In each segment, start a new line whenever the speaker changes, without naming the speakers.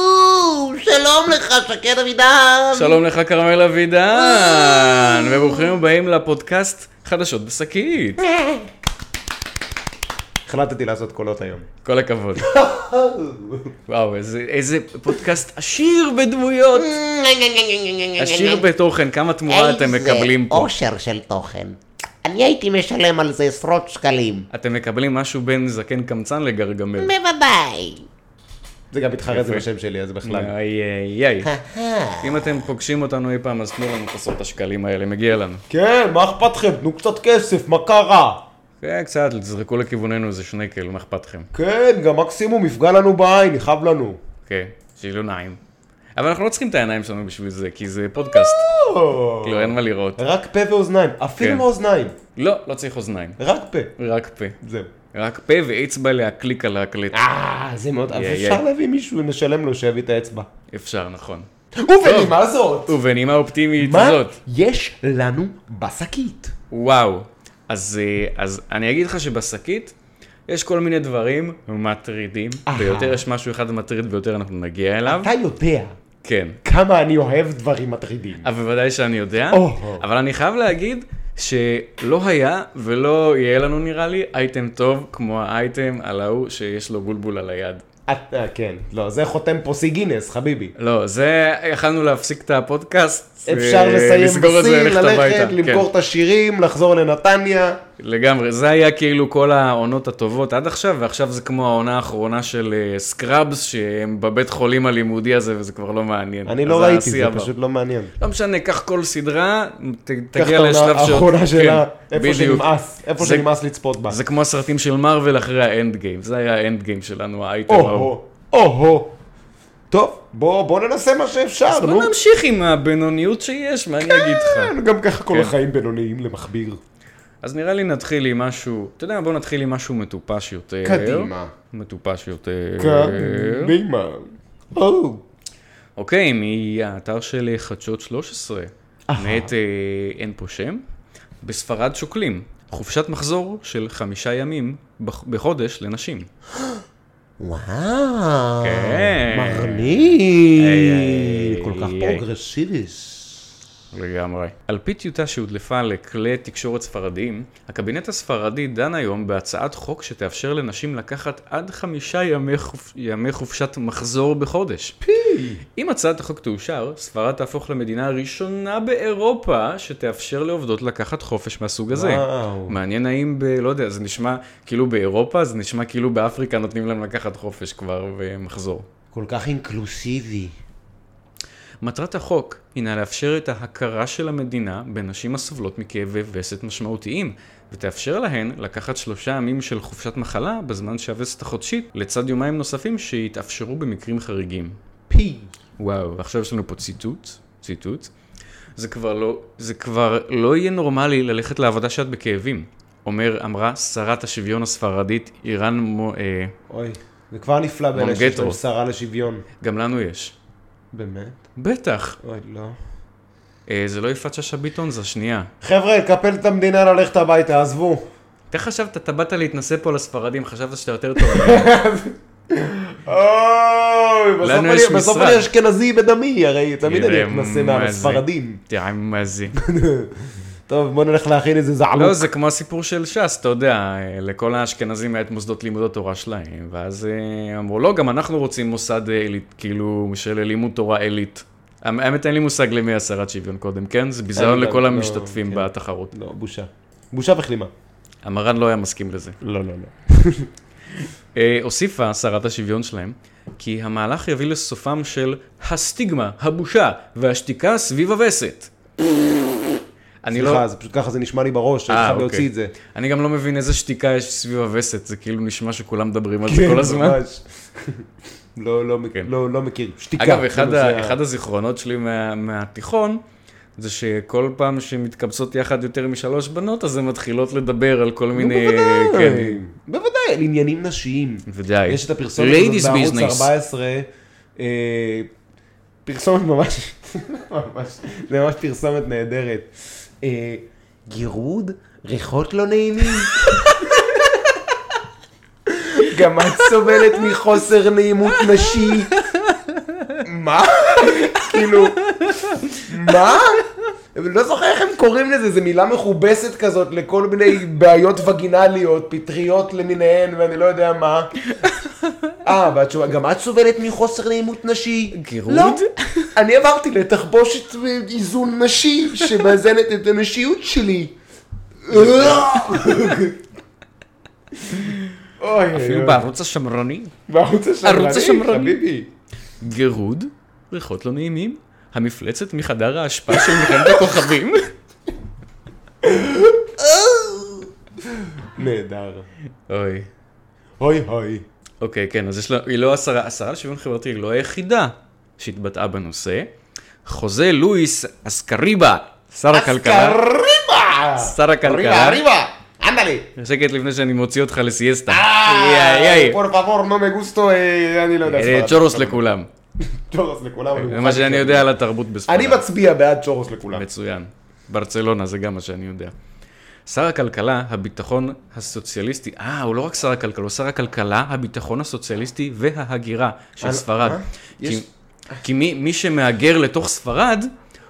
או, שלום לך, שקד אבידן.
שלום לך, כרמל אבידן, וברוכים הבאים לפודקאסט חדשות בשקית.
החלטתי לעשות קולות היום.
כל הכבוד. וואו, איזה, איזה פודקאסט עשיר בדמויות,
אה,
עשיר בתוכן, כמה תמורה אתם מקבלים
איזה
פה.
אושר של תוכן. אני הייתי משלם על זה עשרות שקלים.
אתם מקבלים משהו בין זקן קמצן לגרגמל.
בוודאי.
זה גם מתחרז
יפה.
עם השם שלי, אז בכלל.
איי איי איי.
אהה.
אם אתם פוגשים אותנו אי פעם, אז תנו לנו את עשרות השקלים האלה, מגיע לנו.
כן, מה אכפת לכם? תנו קצת כסף, מה קרה?
כן, קצת, תזרקו לכיווננו איזה שנקל, מה אכפת לכם?
כן, גם מקסימום יפגע לנו בעין, יכאב לנו.
כן, שיהיו נעים. אבל אנחנו לא צריכים את העיניים שלנו בשביל זה, כי זה פודקאסט. כאילו, אין מה לראות.
רק פה ואוזניים, אפילו
כן.
עם האוזניים,
לא, לא צריך אוזניים.
רק פה.
רק פה.
זהו.
רק פה ואצבע להקליק על ההקלט.
אה, זה מאוד... אז
יא, יא.
אפשר להביא מישהו, נשלם לו שיביא את האצבע.
אפשר, נכון.
ובנימה זאת!
ובנימה אופטימית
מה
זאת.
יש לנו בשקית?
וואו. אז, אה, אז אני אגיד לך שבשקית יש כל מיני דברים מטרידים
אהה.
ביותר, יש משהו אחד מטריד ביותר, אנחנו נגיע אליו.
אתה יודע
כן.
כמה אני אוהב דברים מטרידים.
אבל בוודאי שאני יודע,
או.
אבל אני חייב להגיד שלא היה ולא יהיה לנו נראה לי אייטם טוב כמו האייטם על ההוא שיש לו בולבול על היד.
את- אה, כן, לא, זה חותם פה שיא גינס, חביבי.
לא, זה, יכלנו להפסיק את הפודקאסט.
אפשר
אה,
לסיים
לסגור את זה,
בשיא,
ללכת
ללכת,
הביתה.
למכור
כן,
את השירים, לחזור לנתניה.
לגמרי, זה היה כאילו כל העונות הטובות עד עכשיו, ועכשיו זה כמו העונה האחרונה של סקראבס, שהם בבית חולים הלימודי הזה, וזה כבר לא מעניין.
אני
אז
לא ראיתי,
השיא
זה
עבר.
פשוט לא מעניין.
לא משנה, קח כל סדרה, ת,
קח את
תגיע לשלב
העונה האחרונה שלה,
כן,
איפה
בדיוק.
שנמאס, איפה
זה-
שנמאס לצפות בה.
זה כמו הסרטים של מארוול אחרי האנד גיים, זה היה האנד גיים שלנו, האייטם ההוא.
או-הו, או-הו. טוב, בוא בוא ננסה מה שאפשר,
אז
אה, נו.
בוא נמשיך עם הבינוניות שיש, מה אני אגיד לך?
כן, גם ככה כל
כן.
החיים בינוניים למכביר.
אז נראה לי נתחיל עם משהו, אתה יודע, בוא נתחיל עם משהו מטופש יותר.
קדימה.
מטופש יותר.
קדימה. או.
אוקיי, מהאתר של חדשות 13, מאת אה, אין פה שם, בספרד שוקלים, חופשת מחזור של חמישה ימים בח- בחודש
אה,
לנשים.
וואו.
כן.
מרני.
איי,
כל כך
איי, איי.
פרוגרסיביס.
לגמרי. על פי טיוטה שהודלפה לכלי תקשורת ספרדיים, הקבינט הספרדי דן היום בהצעת חוק שתאפשר לנשים לקחת עד חמישה ימי, חופ... ימי חופשת מחזור בחודש. פי! אם הצעת החוק תאושר, ספרד תהפוך למדינה הראשונה באירופה שתאפשר לעובדות לקחת חופש מהסוג הזה.
וואו.
מעניין האם ב... לא יודע, זה נשמע כאילו באירופה, זה נשמע כאילו באפריקה נותנים להם לקחת חופש כבר ומחזור.
כל כך אינקלוסיבי.
מטרת החוק הינה לאפשר את ההכרה של המדינה בנשים הסובלות מכאבי וסת משמעותיים, ותאפשר להן לקחת שלושה ימים של חופשת מחלה בזמן שהווסת החודשית, לצד יומיים נוספים שיתאפשרו במקרים חריגים.
פי.
וואו, עכשיו יש לנו פה ציטוט, ציטוט. זה כבר לא, זה כבר לא יהיה נורמלי ללכת לעבודה שאת בכאבים. אומר, אמרה שרת השוויון הספרדית איראן מו... אה,
אוי, זה כבר נפלא באלה שיש
מונגטו.
להם שרה לשוויון.
גם לנו יש.
באמת?
בטח.
אוי, לא.
אה, זה לא יפעת שאשא ביטון, זו השנייה.
חבר'ה, לקפל את המדינה, ללכת הביתה, עזבו.
אתה חשבת, אתה באת להתנשא פה לספרדים, חשבת שאתה יותר טוב. מהם.
אוי, בסוף
לנו
אני-
יש
בסוף
משרד.
אני אשכנזי בדמי, הרי תמיד אני
נראה
אתנסה
מה זה.
מהספרדים.
תראה מה זה.
טוב, בוא נלך להכין איזה
לא,
זעלוק.
זה כמו הסיפור של ש"ס, אתה יודע, לכל האשכנזים היה את מוסדות לימוד התורה שלהם, ואז אה, אמרו, לא, גם אנחנו רוצים מוסד אה, עילית, כאילו, של לימוד תורה עילית. האמת, אין לי מושג למי הסרת שוויון קודם, כן? זה ביזיון
אין,
לכל
לא,
המשתתפים
כן.
בתחרות.
לא, בושה. בושה וכלימה.
המרן לא היה מסכים לזה.
לא, לא, לא.
אה, הוסיפה שרת השוויון שלהם, כי המהלך יביא לסופם של הסטיגמה, הבושה והשתיקה סביב הווסת. אני לא... אה, אוקיי.
סליחה, זה פשוט ככה זה נשמע לי בראש, אני חייב להוציא את זה.
אני גם לא מבין איזה שתיקה יש סביב הווסת, זה כאילו נשמע שכולם מדברים על
כן,
זה כל הזמן.
ממש. לא, לא, מכ-
כן.
לא, לא מכיר. שתיקה.
אגב,
כאילו,
אחד,
זה
ה...
ה-
אחד הזיכרונות שלי מה... מהתיכון, זה שכל פעם שמתקבצות יחד יותר משלוש בנות, אז הן מתחילות לדבר על כל מיני... כן,
בוודאי, בוודאי, על עניינים נשיים.
ודי.
יש את הפרסומת
Ladies
הזאת בערוץ
business.
14, אה, פרסומת ממש, ממש, זה ממש פרסומת נהדרת. אה, גירוד, ריחות לא נעימים. גם את סובלת מחוסר נעימות נשי. מה? כאילו, מה? אני לא זוכר איך הם קוראים לזה, זו מילה מכובסת כזאת לכל מיני בעיות וגינליות, פטריות למיניהן, ואני לא יודע מה. אה, והתשובה, גם את סובלת מחוסר נעימות נשי?
גירוד?
לא, אני עברתי לתחבושת איזון נשי, שמאזנת את הנשיות שלי. אוי,
אפילו בערוץ השמרני.
בערוץ השמרני,
ערוץ השמרני.
חביבי.
גירוד, ריחות לא נעימים, המפלצת מחדר האשפה של מלחמת הכוכבים.
נהדר.
אוי.
אוי אוי.
אוקיי, כן, אז יש לה, היא לא השרה, השרה לשוויון חברתי היא לא היחידה שהתבטאה בנושא. חוזה לואיס אסקריבה, שר הכלכלה,
קריבה!
שר הכלכלה.
ריבה! אנדלי!
שקט לפני שאני מוציא אותך לסיאסטה.
אה,
איי, איי,
פור פאבור, נו מגוסטו, אה, אני לא יודע.
איי. אה,
ספרד.
צ'ורוס לכולם.
צ'ורוס לכולם. אני
זה
מוכן
מה שאני
לכולם.
יודע על התרבות בספרד.
אני מצביע בעד צ'ורוס לכולם.
מצוין. ברצלונה, זה גם מה שאני יודע. שר הכלכלה, הביטחון הסוציאליסטי, אה, הוא לא רק שר הכלכלה, הוא שר הכלכלה, הביטחון הסוציאליסטי וההגירה של
אה,
ספרד.
אה?
כי-
יש-
כי מי, מי שמהגר לתוך ספרד,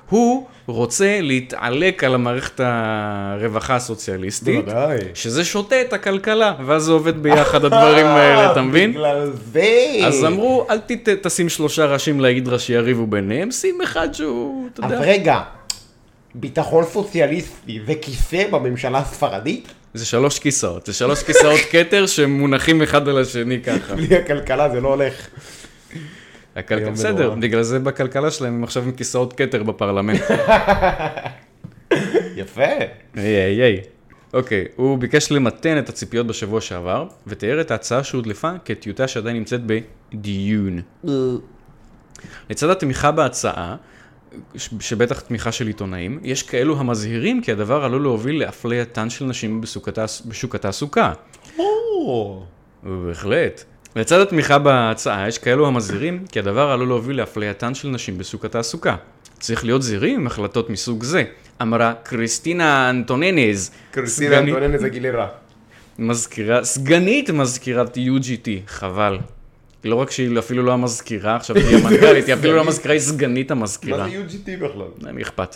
הוא רוצה להתעלק על המערכת הרווחה הסוציאליסטית,
בוודאי.
שזה שותה את הכלכלה, ואז זה עובד ביחד הדברים האלה, אתה מבין?
בגלל זה.
אז אמרו, אל תת- תשים שלושה ראשים להידרה שיריבו ביניהם, שים אחד שהוא, אתה
אבל
יודע.
רגע, ביטחון סוציאליסטי זה כיסא בממשלה הספרדית?
זה שלוש כיסאות, זה שלוש כיסאות כתר שמונחים אחד על השני ככה.
בלי הכלכלה זה לא הולך.
הכלכל...
איום
בסדר,
ונורא.
בגלל זה בכלכלה שלהם הם עכשיו עם כיסאות כתר בפרלמנט.
יפה.
איי איי איי. אוקיי, הוא ביקש למתן את הציפיות בשבוע שעבר, ותיאר את ההצעה שהודלפה כטיוטה שעדיין נמצאת בדיון. לצד התמיכה בהצעה, ש- שבטח תמיכה של עיתונאים, יש כאלו המזהירים כי הדבר עלול להוביל לאפלייתן של נשים בשוק התעס- בשוק התעסוקה.
Oh.
בהחלט. לצד התמיכה בהצעה, יש כאלו המזהירים כי הדבר עלול להוביל לאפלייתן של נשים בשוק התעסוקה. צריך להיות זהירים עם החלטות מסוג זה, אמרה קריסטינה אנטוננז,
קריסינה
סגנית-
אנטוננזה גילרה.
מזכירה, סגנית מזכירת UGT, חבל. לא רק שהיא אפילו לא המזכירה, עכשיו היא המנכ"לית, היא אפילו לא המזכירה, היא סגנית
מה
המזכירה.
זה UGT בכלל?
למי אכפת?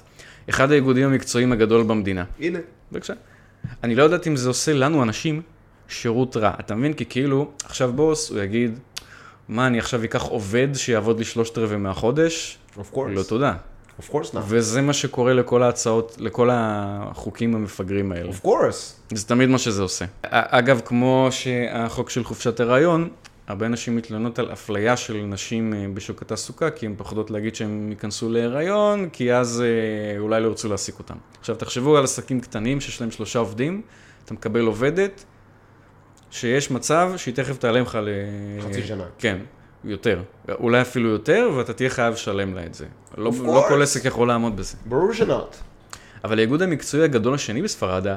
אחד האיגודים המקצועיים הגדול במדינה.
הנה.
בבקשה. אני לא יודעת אם זה עושה לנו אנשים שירות רע. אתה מבין? כי כאילו, עכשיו בוס, הוא יגיד, מה, אני עכשיו אקח עובד שיעבוד לי שלושת רבעי מהחודש?
Of course.
לא תודה.
Of course not.
וזה מה שקורה לכל ההצעות, לכל החוקים המפגרים האלה.
Of course.
זה תמיד מה שזה עושה. א- אגב, כמו שהחוק של חופשת הריון, הרבה נשים מתלוננות על אפליה של נשים אה, בשוק התעסוקה, כי הן פוחדות להגיד שהן ייכנסו להיריון, כי אז אה, אולי לא ירצו להעסיק אותן. עכשיו, תחשבו על עסקים קטנים שיש להם שלושה עובדים, אתה מקבל עובדת, שיש מצב שהיא תכף תעלה לך ל...
חצי שנה.
כן, יותר. אולי אפילו יותר, ואתה תהיה חייב לשלם לה את זה. לא,
Of
לא כל
course.
עסק יכול לעמוד בזה.
ברור שנוט.
אבל האיגוד המקצועי הגדול השני בספרד,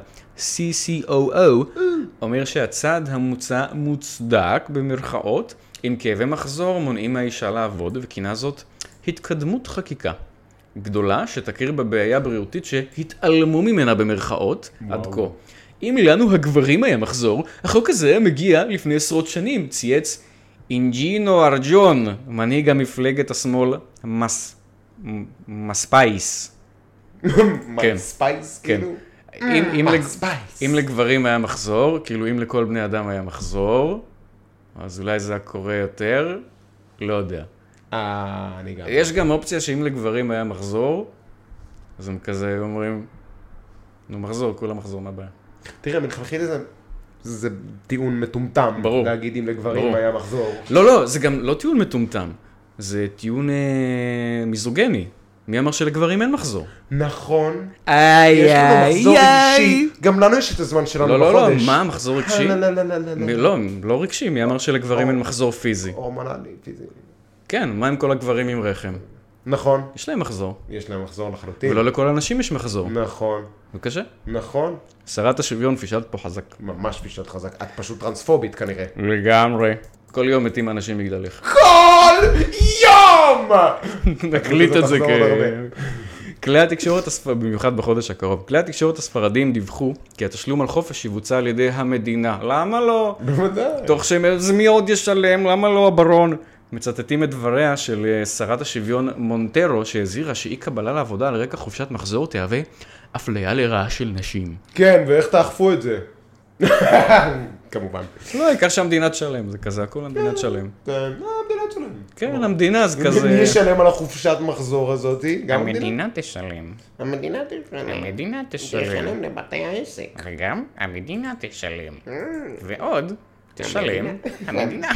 ה-CCOO, אומר שהצעד המוצע מוצדק במרכאות, עם כאבי מחזור מונעים מהאישה לעבוד, וכינה זאת התקדמות חקיקה. גדולה שתכיר בבעיה בריאותית שהתעלמו ממנה במרכאות עד כה. אם לנו הגברים היה מחזור, החוק הזה היה מגיע לפני עשרות שנים, צייץ אינג'ינו ארג'ון, מנהיג המפלגת השמאל מס... מ- מספייס. כן.
ספייס
כן.
כאילו?
אם, אם, לג...
ספייס.
אם לגברים היה מחזור, כאילו אם לכל בני אדם היה מחזור, אז אולי זה היה קורה יותר, לא יודע.
אה, אני גם.
יש גם אופציה שאם לגברים היה מחזור, אז הם כזה היו אומרים, נו מחזור, כולם מחזור, מה הבעיה?
תראה, מלכתחילה זה... זה טיעון מטומטם.
ברור.
להגיד אם לגברים
ברור.
היה מחזור.
לא, לא, זה גם לא טיעון מטומטם, זה טיעון אה, מיזוגני. מי אמר שלגברים אין מחזור?
נכון.
איי,
יש לנו מחזור רגשי. גם לנו יש את הזמן שלנו
לא,
בחודש.
לא, לא, מה המחזור רגשי?
לא, לא, לא, לא, לא,
מי-
לא.
לא, לא רגשי, מי אמר שלגברים אין מחזור פיזי?
הורמונלי, פיזי.
כן, מה עם כל הגברים עם רחם?
נכון.
יש להם מחזור.
יש להם מחזור לחלוטין.
ולא לכל האנשים יש מחזור.
נכון.
בבקשה.
נכון.
שרת השוויון פישלת פה חזק.
ממש פשוט חזק. את פשוט טרנספובית כנראה.
לגמרי. כל יום מתים אנשים בגללך.
כל יום!
נקליט את זה
תחזור עוד הרבה.
כ... כלי התקשורת, הספ... במיוחד בחודש הקרוב, כלי התקשורת הספרדים דיווחו כי התשלום על חופש יבוצע על ידי המדינה. למה לא?
בוודאי.
תוך שהם, אז מי עוד ישלם? למה לא הברון? מצטטים את דבריה של אה, שרת השוויון מונטרו, שהזהירה שאי קבלה לעבודה על רקע חופשת מחזור תהווה אפליה לרעה של נשים.
כן, ואיך תאכפו את זה? כמובן.
לא, העיקר שהמדינה תשלם, זה כזה, הכול המדינה תשלם.
אה, המדינה תשלם.
כן, המדינה אז
מי
כזה...
ישלם על החופשת מחזור הזאת? גם המדינה.
המדינה תשלם.
המדינה תשלם.
המדינה תשלם.
תשלם לבתי העסק.
וגם המדינה תשלם. ועוד, תשלם המדינה.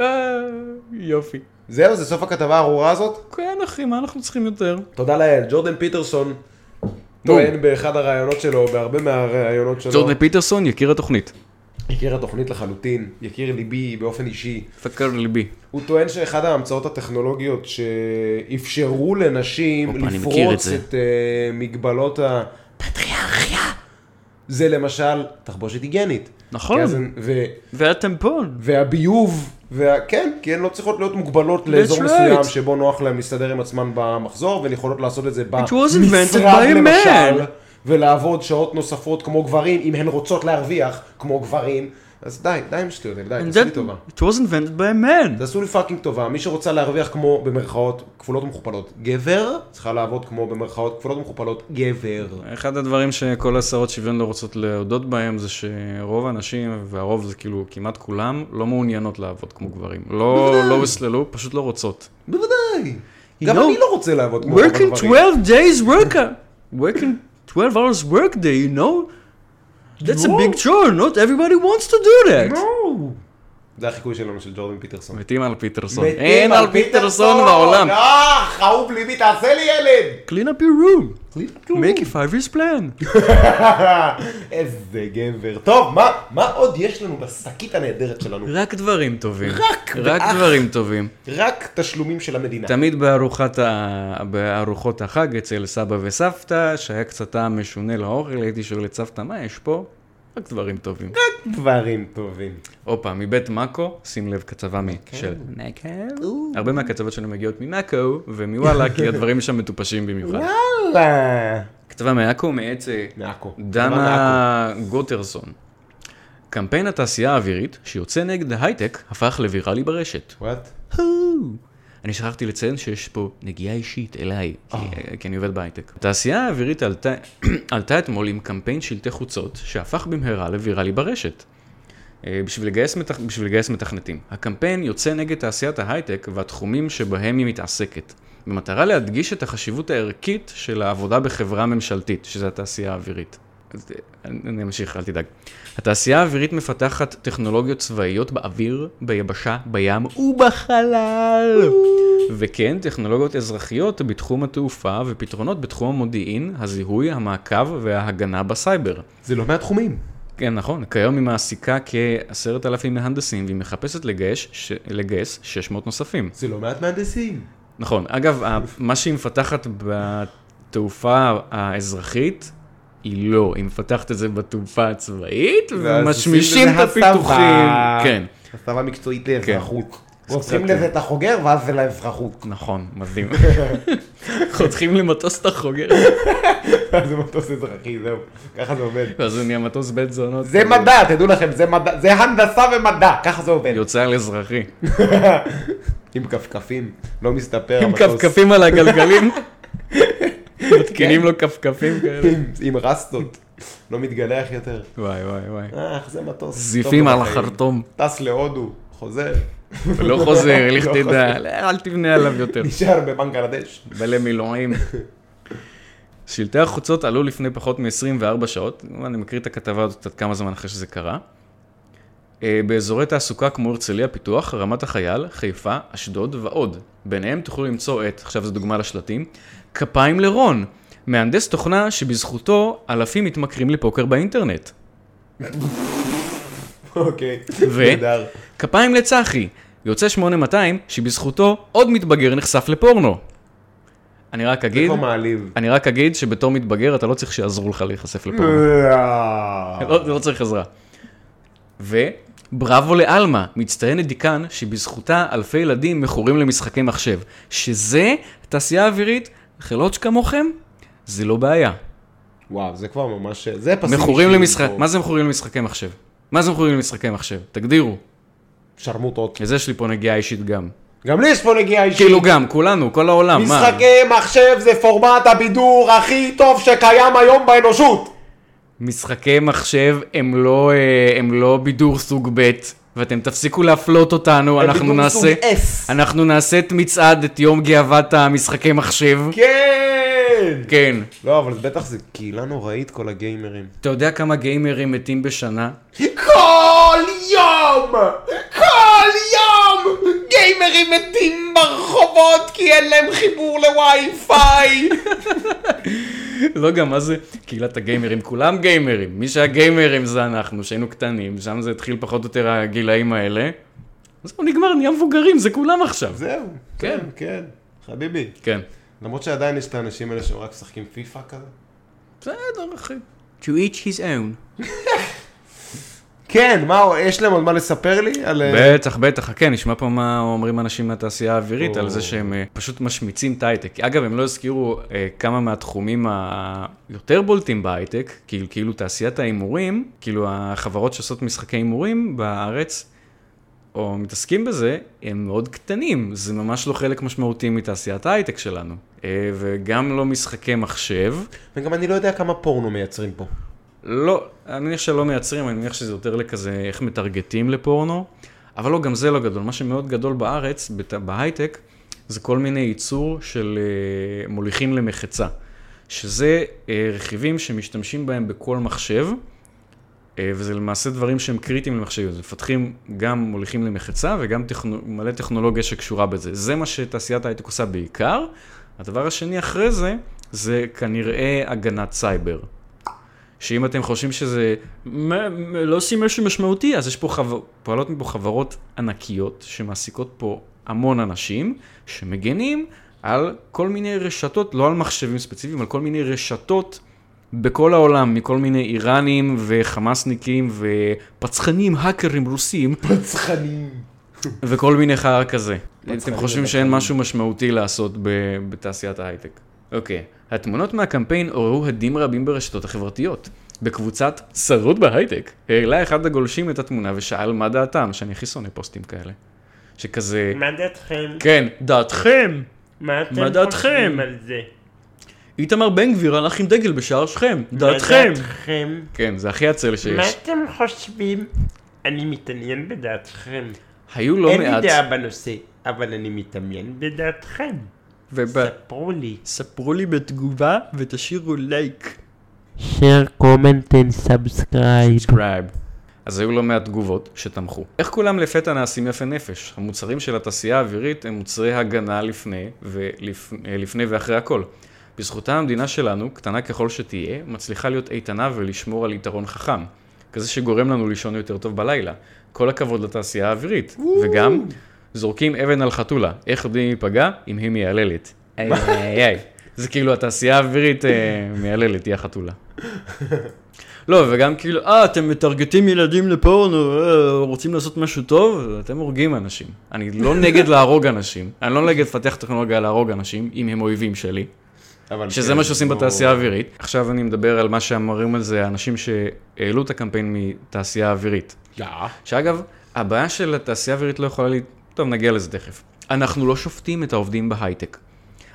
אה, יופי.
זהו, זה סוף הכתבה הארורה הזאת?
כן, אחי, מה אנחנו צריכים יותר?
תודה לאל. ג'ורדן פיטרסון טוען באחד הראיונות שלו, בהרבה מהראיונות שלו.
ג'ורדן פיטרסון, יקיר התוכנית.
יקיר התוכנית לחלוטין, יקיר ליבי באופן אישי.
תקר ליבי.
הוא טוען שאחד ההמצאות הטכנולוגיות שאפשרו לנשים
הופה, אני מכיר את
לפרוץ
זה.
את אה, מגבלות הפטריארכיה, זה למשל תחבושת היגיינית.
נכון.
כי אז הן- ו-
והטמפון.
והביוב, וה- כן, כי הן לא צריכות להיות מוגבלות לאזור
right.
מסוים שבו נוח להן להסתדר עם עצמן במחזור, והן יכולות לעשות את זה
wasn't invented
במשרד
by a man.
למשל, ולעבוד שעות נוספות כמו גברים, אם הן רוצות להרוויח כמו גברים. אז די, די עם השטויות האלה, די, תעשו לי טובה.
It was invented by a man.
תעשו לי פאקינג טובה, מי שרוצה להרוויח כמו במרכאות כפולות ומכופלות גבר, צריכה לעבוד כמו במרכאות כפולות ומכופלות גבר.
אחד הדברים שכל השרות שוויון לא רוצות להודות בהם זה שרוב הנשים, והרוב זה כאילו כמעט כולם, לא מעוניינות לעבוד כמו גברים. לא לא הוסללו, פשוט לא רוצות.
בוודאי.
You
גם
know,
אני לא רוצה לעבוד כמו
working
גברים.
12 days worker working 12 hours work day you know that's a
No.
big chore not everybody wants to do that
No. זה החיקוי שלנו של ג'ורדן פיטרסון.
מתים על פיטרסון אין על פיטרסון בעולם
אה, חאוב ליבי, תעשה לי ילד!
clean up your room make a five years plan
איזה גבר. טוב, מה- מה עוד יש לנו בשקית הנהדרת שלנו?
רק דברים טובים
רק
רק
ואך.
דברים טובים
רק תשלומים של המדינה.
תמיד בארוחת ה... בארוחות החג אצל סבא וסבתא שהיה קצת טעם משונה לאוכל הייתי שואל את סבתא מה יש פה רק דברים טובים
דברים טובים.
הופה, מבית מאקו, שים לב, כתבה משל מאקו. הרבה מהכתבות שלנו מגיעות ממאקו ומוואלה, כי הדברים שם מטופשים במיוחד.
וואלה.
כתבה מאקו מאת אה,
מעכו.
דנה גוטרסון. קמפיין התעשייה האווירית שיוצא נגד ההייטק הפך לוויראלי ברשת.
וואט?
אני שכחתי לציין שיש פה נגיעה אישית אליי, כי- אה, כי אני עובד בהייטק. התעשייה האווירית עלתה- עלתה אתמול עם קמפיין שלטי חוצות, שהפך במהרה לוויראלי ברשת. אה, בשביל לגייס, מתכ... בשביל לגייס מתכנתים. הקמפיין יוצא נגד תעשיית ההייטק והתחומים שבהם היא מתעסקת, במטרה להדגיש את החשיבות הערכית של העבודה בחברה ממשלתית, שזה התעשייה האווירית. אז, אה, אני אני אמשיך, אל תדאג. התעשייה האווירית מפתחת טכנולוגיות צבאיות באוויר, ביבשה, בים ובחלל. וכן, טכנולוגיות אזרחיות בתחום התעופה ופתרונות בתחום המודיעין, הזיהוי, המעקב וההגנה בסייבר.
זה לא מהתחומים.
כן, נכון. כיום היא מעסיקה כ-10,000 מהנדסים, והיא מחפשת לגייס, ש... לגייס 600 נוספים.
זה לא מעט מהנדסים.
נכון. אגב, ה- מה שהיא מפתחת בתעופה האזרחית, היא לא. היא מפתחת את זה בתעופה הצבאית,
ואז
ומשמישים
עושים
את
לזה
הפיתוחים.
הסבה.
כן.
הסבה מקצועית לאזרחות.
קצת-
הופכים לזה את החוגר ואז זה לאזרחות.
נכון, מדהים. חותכים למטוס את החוגר,
זה מטוס אזרחי, זהו. ככה זה עובד.
ואז זה נהיה מטוס בית זונות.
זה מדע, תדעו לכם, זה מדע, זה הנדסה ומדע, ככה זה עובד.
יוצא על אזרחי.
עם כפכפים, לא מסתפר
עם כפכפים על הגלגלים.
כן.
מתקינים לו כפכפים כאלה.
עם- עם רסטות, לא מתגלח יותר.
וואי וואי וואי.
אה, איך זה מטוס.
זיפים
טוב
על
לחיים.
החרטום,
טס להודו, חוזר,
ולא חוזר, לך
לא
תדע, אל תבנה עליו יותר.
נשאר בבנגלדש.
ולמילואים. שלטי החוצות עלו לפני פחות מ-24 שעות, אני מקריא את הכתבה הזאת עד כמה זמן אחרי שזה קרה. אה, באזורי תעסוקה כמו הרצליה פיתוח, רמת החייל, חיפה, אשדוד ועוד. ביניהם תוכלו למצוא את, עכשיו זו דוגמה לשלטים, כפיים לרון, מהנדס תוכנה שבזכותו אלפים מתמכרים לפוקר באינטרנט.
אוקיי.
ו?
נהדר.
כפיים לצחי, יוצא 8200, שבזכותו עוד מתבגר נחשף לפורנו. אני רק
זה
אגיד,
כבר מעליב.
אני רק אגיד שבתור מתבגר אתה לא צריך שיעזרו לך להיחשף לפורנו.
אה.
לא, לא צריך עזרה. ובראבו לעלמה, מצטיינת דיקן, שבזכותה אלפי ילדים מכורים למשחקי מחשב. שזה תעשייה אווירית, חלוץ' כמוכם, זה לא בעיה.
וואו, זה כבר ממש... זה פסים
מכורים
אישיים
למשחק,
פה.
מה זה מכורים למשחקי מחשב? מה זה מכורים למשחקי מחשב? תגדירו.
שרמוטות.
לזה יש לי פה נגיעה אישית גם.
גם לי יש פה נגיעה אישית.
כאילו גם, כולנו, כל העולם, מה?
משחקי מחשב זה פורמט הבידור הכי טוב שקיים היום באנושות.
משחקי מחשב הם לא, אה, הם לא בידור סוג ב', ואתם תפסיקו להפלות אותנו,
הם
אנחנו
בידור סוג
נעשה...
S.
אנחנו נעשה את מצעד, את יום גאוות המשחקי מחשב.
כן!
כן.
לא, אבל בטח זה קהילה נוראית כל הגיימרים.
אתה יודע כמה גיימרים מתים בשנה?
כל יום! כל יום! גיימרים מתים ברחובות כי אין להם חיבור לווי-פיי!
לא, גם מה זה קהילת הגיימרים? כולם גיימרים. מי שהיה גיימרים זה אנחנו, שהיינו קטנים, שם זה התחיל פחות או יותר הגילאים האלה. זהו, נגמר, נהיה מבוגרים, זה כולם עכשיו.
זהו,
כן.
כן, כן, חביבי.
כן.
למרות שעדיין יש את האנשים האלה שהם רק משחקים פיפא כזה.
בסדר, אחי. To each his own.
כן, מה, יש להם עוד מה לספר לי? על... אה,
בטח, בטח, כן, נשמע פה מה אומרים אנשים מהתעשייה האווירית
או.
על זה שהם אה, פשוט משמיצים את ההייטק. אגב, הם לא הזכירו אה, כמה מהתחומים היותר בולטים בהייטק, כאילו, כאילו תעשיית ההימורים, כאילו החברות שעושות משחקי הימורים בארץ, או מתעסקים בזה, הם מאוד קטנים, זה ממש לא חלק משמעותי מתעשיית ההייטק שלנו. אה, וגם לא משחקי מחשב.
וגם אני לא יודע כמה פורנו מייצרים פה.
לא, אני מניח שלא מייצרים, אני מניח שזה יותר לכזה איך מטרגטים לפורנו, אבל לא, גם זה לא גדול. מה שמאוד גדול בארץ, בת- בהייטק, זה כל מיני ייצור של אה, מוליכים למחצה, שזה אה, רכיבים שמשתמשים בהם בכל מחשב, אה, וזה למעשה דברים שהם קריטיים למחשב, אז מפתחים גם מוליכים למחצה וגם טכנו, מלא טכנולוגיה שקשורה בזה. זה מה שתעשיית ההייטק עושה בעיקר. הדבר השני אחרי זה, זה כנראה הגנת סייבר. שאם אתם חושבים שזה מה- מה- לא עושים משהו משמעותי, אז יש פה חבר... פועלות מפה חברות ענקיות שמעסיקות פה המון אנשים שמגנים על כל מיני רשתות, לא על מחשבים ספציפיים, על כל מיני רשתות בכל העולם, מכל מיני איראנים וחמאסניקים ופצחנים, האקרים רוסים
פצחנים.
וכל מיני חרא כזה. אתם חושבים
ודחפנים.
שאין משהו משמעותי לעשות ב- בתעשיית ההייטק. אוקיי, התמונות מהקמפיין עוררו הדים רבים ברשתות החברתיות. בקבוצת שרוד בהייטק, העלה אחד הגולשים את התמונה ושאל מה דעתם, שאני הכי שונא פוסטים כאלה. שכזה,
מה דעתכם?
כן, דעתכם,
מה אתם
מה דעתכם?
חושבים על זה?
איתמר בן גביר הלך עם דגל בשער שכם,
מה
דעתכם.
דעתכם?
כן, זה הכי עצל
מה
שיש.
אתם חושבים? אני מתעניין בדעתכם.
היו לא
אין לי
מעט,
דעה בנושא, אבל אני מתעניין בדעתכם. ספרו לי.
וספרו לי בתגובה ותשאירו לייק.
share, comment and subscribe.
סאבסקרייב. אז היו לא מעט תגובות שתמכו. איך כולם לפתע נעשים יפי נפש? המוצרים של התעשייה האווירית הם מוצרי הגנה לפני, ולפ... אה, לפני ואחרי הכל. בזכותה המדינה שלנו, קטנה ככל שתהיה, מצליחה להיות איתנה ולשמור על יתרון חכם. כזה שגורם לנו לישון יותר טוב בלילה. כל הכבוד לתעשייה האווירית. וגם, זורקים אבן על חתולה. איך יודעים אם היא פגעה? אם היא מייללת. איי איי איי. זה כאילו התעשייה האווירית אה, מייללת, היא החתולה. לא, וגם כאילו, אה, אתם מטרגטים ילדים לפורנו, אה, רוצים לעשות משהו טוב, אתם הורגים אנשים. אני לא נגד להרוג אנשים, אני לא נגד לפתח טכנולוגיה להרוג אנשים, אם הם אויבים שלי,
אבל
שזה
כן,
מה שעושים
לא-
בתעשייה האווירית. עכשיו אני מדבר על מה שאמרים על זה האנשים שהעלו את הקמפיין מתעשייה האווירית.
לא.
שאגב, הבעיה של התעשייה האווירית לא יכולה ל... טוב, נגיע לזה תכף. אנחנו לא שופטים את העובדים בהייטק.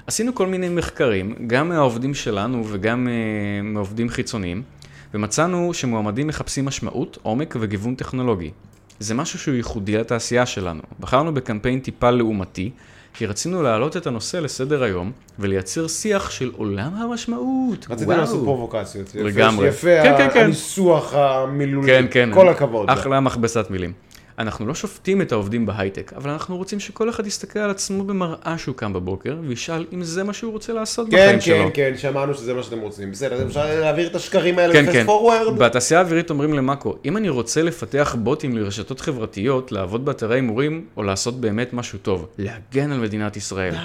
עשינו כל מיני מחקרים, גם מהעובדים שלנו וגם אה, מעובדים חיצוניים, ומצאנו שמועמדים מחפשים משמעות, עומק וגיוון טכנולוגי. זה משהו שהוא ייחודי לתעשייה שלנו. בחרנו בקמפיין טיפה לעומתי, כי רצינו להעלות את הנושא לסדר היום ולייצר שיח של עולם המשמעות.
רציתי
וואו.
לעשות פרובוקציות. יפה,
לגמרי.
יפה
כן, כן, כן.
הניסוח המילולי.
כן, כן.
כל הכבוד.
אחלה מכבסת מילים. אנחנו לא שופטים את העובדים בהייטק, אבל אנחנו רוצים שכל אחד יסתכל על עצמו במראה שהוא קם בבוקר, וישאל אם זה מה שהוא רוצה לעשות
כן,
בחיים
כן,
שלו.
כן, שמענו שזה מה שאתם רוצים. בסדר, אז אפשר להעביר את השקרים האלה
כן,
בפסט
כן.
פורוורד?
בתעשייה האווירית אומרים למאקו, אם אני רוצה לפתח בוטים לרשתות חברתיות, לעבוד באתרי הימורים, או לעשות באמת משהו טוב, להגן על מדינת ישראל,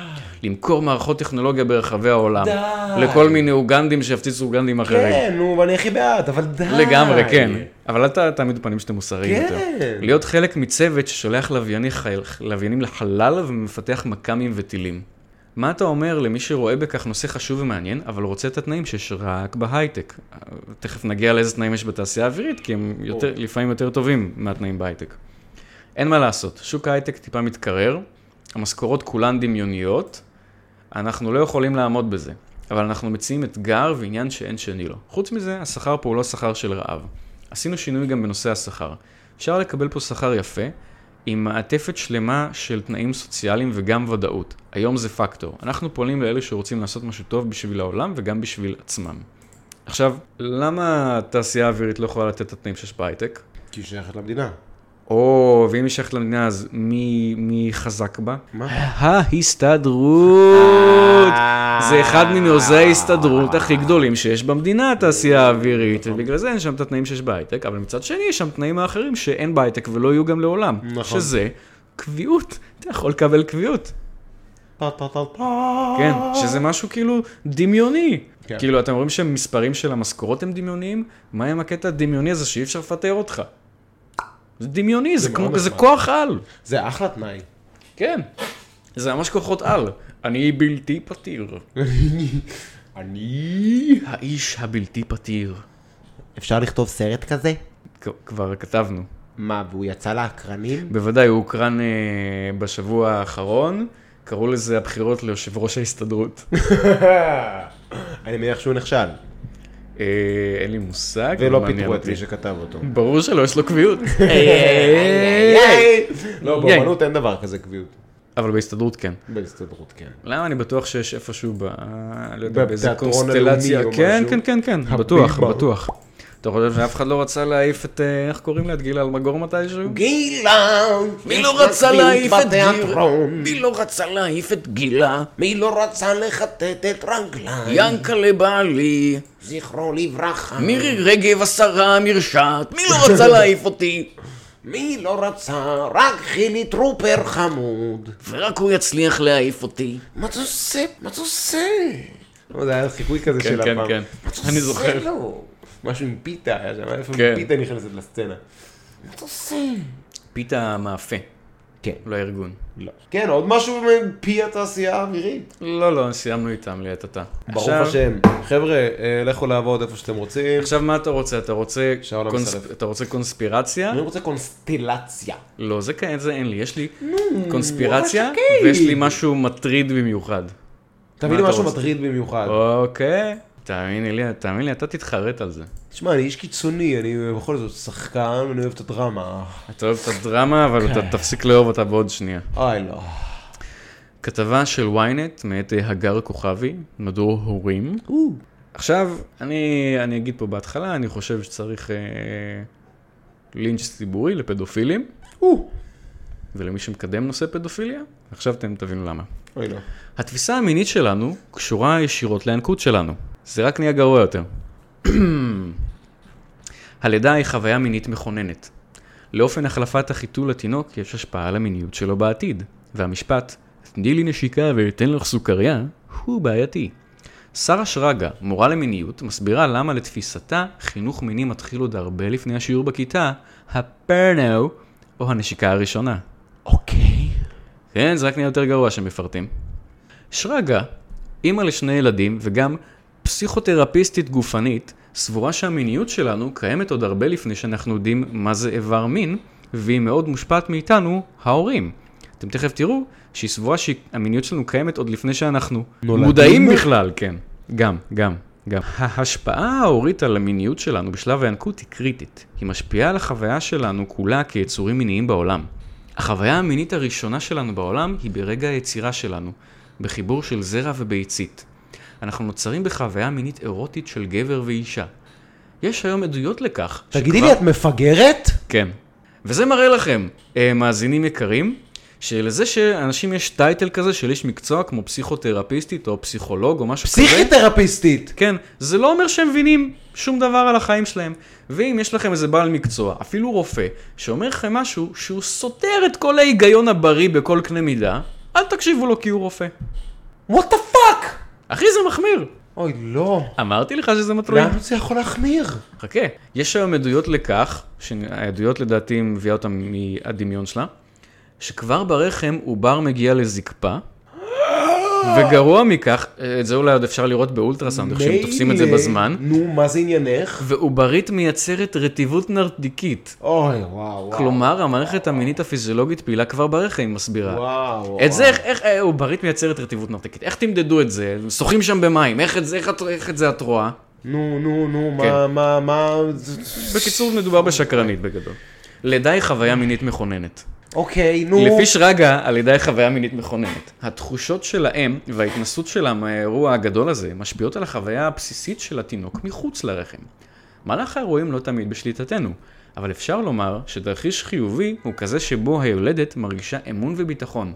למכור מערכות טכנולוגיה ברחבי העולם,
די.
לכל מיני אוגנדים שיפציצו אוגנדים אחרים.
כן, נו, ואני הכי בעד, אבל די.
לגמרי, כן. אבל אל ת- תעמידו פנים שאתם מוסריים
כן.
יותר. להיות חלק מצוות ששולח לווייני חייל- לוויינים לחלל ומפתח מכ"מים וטילים. מה אתה אומר למי שרואה בכך נושא חשוב ומעניין, אבל רוצה את התנאים שיש רק בהייטק? תכף נגיע לאיזה תנאים יש בתעשייה האווירית, כי הם יותר, לפעמים יותר טובים מהתנאים בהייטק. אין מה לעשות, שוק ההייטק טיפה מתקרר, המשכורות כולן דמיוניות, אנחנו לא יכולים לעמוד בזה, אבל אנחנו מציעים אתגר ועניין שאין שני לו. חוץ מזה, השכר פה הוא לא שכר של רעב. עשינו שינוי גם בנושא השכר. אפשר לקבל פה שכר יפה, עם מעטפת שלמה של תנאים סוציאליים וגם ודאות. היום זה פקטור. אנחנו פועלים לאלה שרוצים לעשות משהו טוב בשביל העולם וגם בשביל עצמם. עכשיו, למה התעשייה האווירית לא יכולה לתת את התנאים שיש בהייטק?
כי היא שייכת למדינה.
או, ואם היא שייכת למדינה, אז מי, מי חזק בה?
מה?
ההסתדרות! זה אחד מנעוזי ההסתדרות הכי גדולים שיש במדינה, התעשייה האווירית,
נכון.
ובגלל זה אין שם את התנאים שיש בהייטק, אבל מצד שני, יש שם תנאים האחרים שאין בהייטק ולא יהיו גם לעולם.
נכון.
שזה קביעות, אתה יכול לקבל קביעות. כן, שזה משהו כאילו דמיוני.
כן.
כאילו, אתם רואים שהמספרים של המשכורות הם דמיוניים? מה עם הקטע הדמיוני הזה שאי אפשר לפטר אותך? זה דמיוני, זה,
מאוד
כמו, זה
נחמד.
כוח על.
זה אחלה תנאי.
כן. זה ממש כוחות על. אני בלתי פתיר.
אני...
האיש הבלתי פתיר.
אפשר לכתוב סרט כזה?
כ- כבר כתבנו.
מה, והוא יצא לאקרנים?
בוודאי, הוא הוקרן אה, בשבוע האחרון, קראו לזה הבחירות ליושב ראש ההסתדרות.
אני מניח שהוא נכשל.
אה, אין לי מושג.
ולא
לא מעניין
פיטרו את
אותי.
מי שכתב אותו.
ברור שלא, יש לו קביעות.
לא,
ייי.
באמנות אין דבר כזה קביעות.
אבל בהסתדרות כן.
בהסתדרות, כן.
למה אני בטוח שיש איפשהו ב... לא יודע, באיזה
בתיאטרון
קונסטלציה.
הלאומי או
כן,
משהו.
כן, כן, כן, בטוח,
הביבר.
בטוח. אתה חושב שאף אחד לא רצה להעיף את, אה, איך קוראים לה? את גילה אלמגור מתישהו?
גילן!
מי לא רצה להעיף את גילה?
בתיאטרון?
מי לא רצה להעיף את גילה?
מי לא רצה לחטט את רגליי?
ינקלה בעלי,
זכרו לברכה.
מירי רגב השרה המרשעת, מי לא רצה להעיף אותי?
מי לא רצה? רק חילי טרופר חמוד.
ורק הוא יצליח להעיף אותי.
מה זה עושה? מה זה עושה?
לא, זה היה חיקוי כזה
כן,
של
כן,
הפעם.
כן.
מה זה
אני
עושה
זוכר.
לו?
לא, משהו עם פיתה היה שם, איפה
כן.
פיתה נכנסת לסצנה.
מה זה עושה?
פיתה מאפה.
כן.
לא הארגון.
כן, עוד משהו מפי התעשייה האווירית.
לא, לא, סיימנו איתם לעת עתה.
ברוך
עכשיו-
השם. חבר'ה, אה, לכו לעבוד איפה שאתם רוצים.
עכשיו מה אתה רוצה? אתה רוצה,
שאול
קונספ...
אמסלם.
אתה רוצה קונספירציה?
אני רוצה קונסטלציה.
לא, זה כאן, זה אין לי. יש לי קונספירציה, ויש לי משהו מטריד במיוחד.
תביא לי
אתה
משהו
רוצה?
מטריד במיוחד.
אוקיי. תאמיני לי, תאמין לי, אתה תתחרט על זה.
תשמע, אני איש קיצוני, אני בכל זאת שחקן, אני אוהב את הדרמה.
אתה אוהב את הדרמה, אבל אתה תפסיק לאהוב אותה בעוד שנייה.
אוי, לא.
כתבה של ynet מאת אה, הגר כוכבי, מדור הורים. עכשיו, אני, אני אגיד פה בהתחלה, אני חושב שצריך אה, לינץ' ציבורי לפדופילים, ולמי שמקדם נושא פדופיליה, עכשיו אתם תבינו למה.
אוי, לא.
התפיסה המינית שלנו קשורה ישירות לינקות שלנו. זה רק נהיה גרוע יותר. הלידה היא חוויה מינית מכוננת. לאופן החלפת החיתול לתינוק יש השפעה על המיניות שלו בעתיד, והמשפט "תני לי נשיקה ואתן לך סוכריה" הוא בעייתי. שרה שרגא, מורה למיניות, מסבירה למה לתפיסתה חינוך מיני מתחיל עוד הרבה לפני השיעור בכיתה, הפרנו, או הנשיקה הראשונה.
אוקיי.
כן, זה רק נהיה יותר גרוע שמפרטים. שרגא, אימא לשני ילדים וגם פסיכותרפיסטית גופנית, סבורה שהמיניות שלנו קיימת עוד הרבה לפני שאנחנו יודעים מה זה איבר מין, והיא מאוד מושפעת מאיתנו, ההורים. אתם תכף תראו שהיא סבורה שהמיניות שלנו קיימת עוד לפני שאנחנו
נולדים?
מודעים בכלל, כן. גם, גם, גם. ההשפעה ההורית על המיניות שלנו בשלב הינקות היא קריטית. היא משפיעה על החוויה שלנו כולה כיצורים מיניים בעולם. החוויה המינית הראשונה שלנו בעולם היא ברגע היצירה שלנו, בחיבור של זרע וביצית. אנחנו נוצרים בחוויה מינית אירוטית של גבר ואישה. יש היום עדויות לכך
תגידי לי, את מפגרת?
כן. וזה מראה לכם, אה, מאזינים יקרים, שלזה שאנשים יש טייטל כזה של איש מקצוע כמו פסיכותרפיסטית או פסיכולוג או משהו כזה.
פסיכותרפיסטית.
כן, זה לא אומר שהם מבינים שום דבר על החיים שלהם. ואם יש לכם איזה בעל מקצוע, אפילו רופא, שאומר לכם משהו שהוא סותר את כל ההיגיון הבריא בכל קנה מידה, אל תקשיבו לו כי הוא רופא.
וואט דה פאק!
אחי, זה מחמיר.
אוי, לא.
אמרתי לך שזה מטריד.
לאן זה יכול להחמיר?
חכה, יש היום עדויות לכך, שהעדויות לדעתי מביאה אותן מהדמיון שלה, שכבר ברחם עובר מגיע לזקפה, וגרוע מכך, את זה אולי עוד אפשר לראות באולטרסאונד, איך שהם תופסים את זה
מילא.
בזמן,
נו, מה זה עניינך?
ועוברית מייצרת רטיבות נרדיקית.
אוי, וואו, וואו.
כלומר, המערכת המינית הפיזיולוגית פעילה כבר ברחם, היא מסבירה.
וואו, וואו.
את זה, איך- איך, אה, עוברית מייצרת רטיבות נרדיקית, איך תמדדו את זה? שוחים שם במים, איך את זה- איך את- איך את זה את רואה?
נו, נו, נו, מה,
כן.
מה, מה...
בקיצור, מדובר בשקרנית בגדול. לידה היא חוויה מינית מכוננת.
אוקיי, נו.
לפי שרגא, הלידה היא חוויה מינית מכוננת. התחושות של האם וההתנסות שלה מהאירוע הגדול הזה משפיעות על החוויה הבסיסית של התינוק מחוץ לרחם. מהלך האירועים לא תמיד בשליטתנו, אבל אפשר לומר שתרחיש חיובי הוא כזה שבו היולדת מרגישה אמון וביטחון,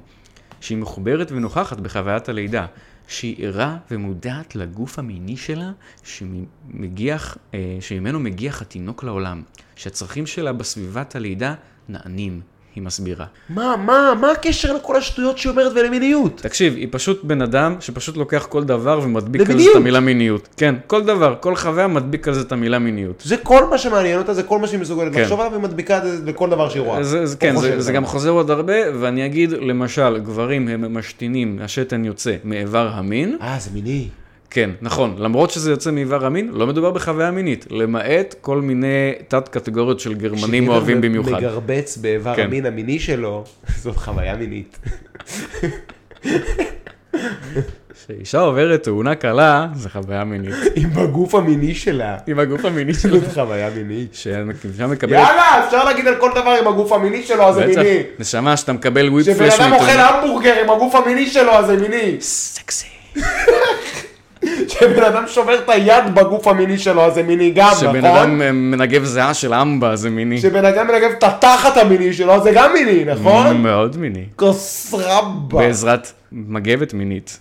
שהיא מחוברת ונוכחת בחוויית הלידה, שהיא ערה ומודעת לגוף המיני שלה שמגיח, אה, שממנו מגיח התינוק לעולם, שהצרכים שלה בסביבת הלידה נענים, היא מסבירה.
מה, מה, מה הקשר לכל השטויות שהיא אומרת ולמיניות?
תקשיב, היא פשוט בן אדם שפשוט לוקח כל דבר ומדביק על זה
במיניות.
את המילה מיניות. כן, כל דבר, כל חוויה מדביק על זה את המילה מיניות.
זה כל מה שמעניין אותה, זה כל מה שהיא מסוגלת
כן.
לחשוב עליו, והיא מדביקה את זה לכל דבר שהיא רואה.
זה, זה,
או
כן,
חושבת
זה, זה
עליו.
גם חוזר עוד הרבה, ואני אגיד, למשל, גברים הם משתינים, השתן יוצא מאיבר המין.
אה, זה מיני.
כן, נכון, למרות שזה יוצא מאיבר המין, לא מדובר בחוויה מינית, למעט כל מיני תת-קטגוריות של גרמנים
כשגבר
אוהבים
מ-
במיוחד.
מגרבץ באיבר
כן.
המין המיני שלו, זאת חוויה מינית.
כשאישה עוברת תאונה קלה, זה חוויה מינית.
אם בגוף המיני שלה,
עם הגוף המיני שלו.
זאת חוויה מינית.
כשאישה מקבלת...
יאללה, אפשר להגיד על כל דבר עם הגוף המיני שלו, אז זה
בטח,
מיני.
נשמה, שאתה מקבל וויפ
כשבן
פלאש
אדם אוכל המבורגר עם הגוף המיני שלו, אז זה מיני.
סקסי.
כשבן אדם שובר את היד בגוף המיני שלו, אז זה מיני גם,
שבן
נכון?
אדם אה, מנגב זיעה של אמבה זה מיני.
כשבן אדם מנגב את התחת המיני שלו, אז זה גם מיני, נכון?
מאוד מיני.
כוס רבה.
בעזרת מגבת מינית.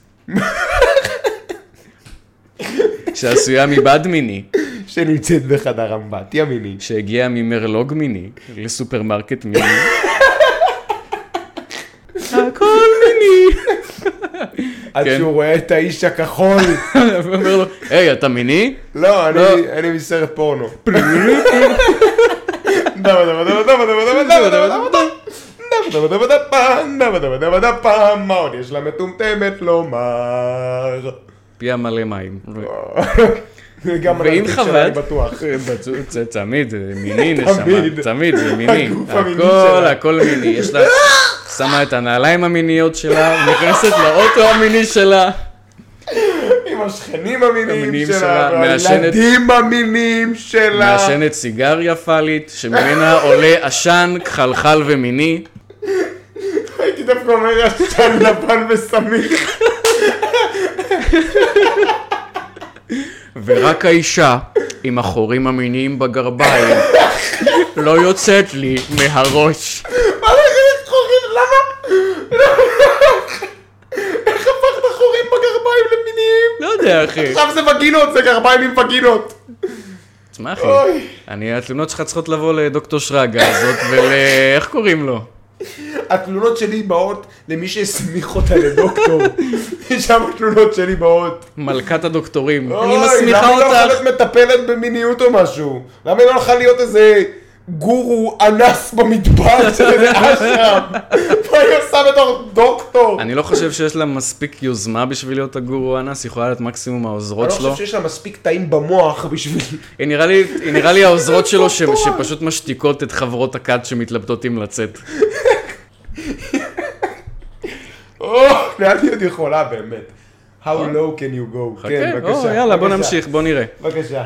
שעשויה מבד מיני,
שנמצאת בחדר אמבטיה מיני.
שהגיעה ממרלוג מיני, לסופרמרקט מיני. הכל מיני.
עד
כן.
שהוא רואה את האיש הכחול.
ואומר לו, היי, אתה מיני?
לא, אני-
לא.
אני מסרט פורנו. דבה דבה דבה דבה דבה דבה דבה דבה דבה. דבה דבה דבה דבה, דבה דבה דבה דבה, מה עוד יש למטומטמת לומר?
פיה מלא מים.
גם על
ואם
הדברים שלה,
חוות,
אני בטוח.
בצוץ, זה תמיד, זה מיני נשמה,
תמיד.
תמיד זה מיני,
הגוף המיני
הכל
שלה.
הכל מיני, יש לה, שמה את הנעליים המיניות שלה, נכנסת לאוטו המיני שלה,
עם השכנים
המיניים
המיניים
שלה,
שלה,
מעשנת-
והילדים המיניים שלה.
מעשנת סיגריה פאלית, שממנה עולה עשן, כחלחל ומיני,
הייתי דווקא אומר עשן לבן וסמיך.
ורק האישה עם החורים המיניים בגרביים לא יוצאת לי מהראש.
מה זה חלק חורים? למה? איך הפכת חורים בגרביים למיניים?
לא יודע, אחי.
עכשיו זה וגינות, זה גרביים עם וגינות.
תשמע, אחי,
אוי.
אני, התלונות שלך צריכות לבוא לדוקטור שרגא הזאת, ול... איך קוראים לו?
התלונות שלי באות למי שהסמיך אותה לדוקטור. שם התלונות שלי באות.
מלכת הדוקטורים. אני
אוי,
מסמיכה
למה היא לא
אותך.
יכולה להיות מטפלת במיניות או משהו? למה היא לא יכולה להיות איזה גורו אנס במדבר של איזה אשרם? מה היא עושה בתור דוקטור?
אני לא חושב שיש לה מספיק יוזמה בשביל להיות הגורו אנס, היא יכולה להיות מקסימום
אני
העוזרות
לא
שלו.
חושב שיש לה מספיק תאים במוח בשביל...
היא נראה לי- היא נראה לי העוזרות שלו ש- שפשוט משתיקות את חברות הכת שמתלבטות אם לצאת.
כן, או, לאן היא עוד יכולה באמת? How low can you go? כן,
כן, או,
בבקשה.
יאללה, בוא
בבקשה.
נמשיך, בוא נראה.
בבקשה.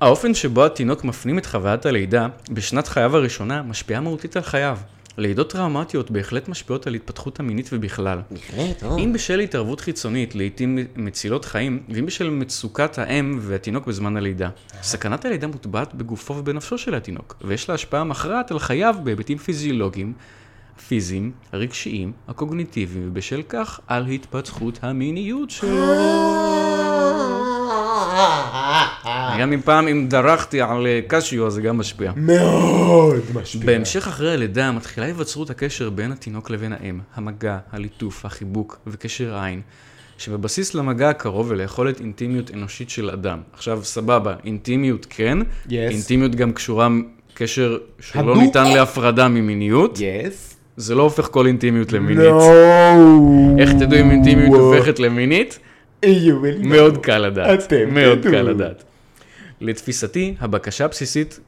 האופן שבו התינוק מפנים את חוויית הלידה בשנת חייו הראשונה משפיעה מהותית על חייו. לידות טראומטיות בהחלט משפיעות על התפתחות המינית ובכלל.
בהחלט, או.
אם בשל התערבות חיצונית, לעיתים מצילות חיים, ואם בשל מצוקת האם והתינוק בזמן הלידה. סכנת הלידה מוטבעת בגופו ובנפשו של התינוק, ויש לה השפעה מכרעת על חייו בהיבטים פיזיולוגיים, פיזיים, הרגשיים, הקוגניטיביים, ובשל כך על התפתחות המיניות שלו.
אה.
גם אם פעם, אם דרכתי על אה, קשיו, אז זה גם משפיע.
מאוד משפיע.
בהמשך אחרי הלידה מתחילה היווצרות הקשר בין התינוק לבין האם, המגע, הליטוף, החיבוק וקשר עין, שבבסיס למגע הקרוב וליכולת אינטימיות אנושית של אדם. עכשיו, סבבה, אינטימיות כן, yes. אינטימיות גם קשורה קשר שלא
הדוק.
ניתן להפרדה ממיניות,
יס.
זה לא הופך כל אינטימיות למינית.
No.
איך תדעו אם אינטימיות הופכת למינית?
You will know.
מאוד קל לדעת.
אתם
מאוד
תדעו.
קל לדעת. לתפיסתי, הבקשה הבסיסית,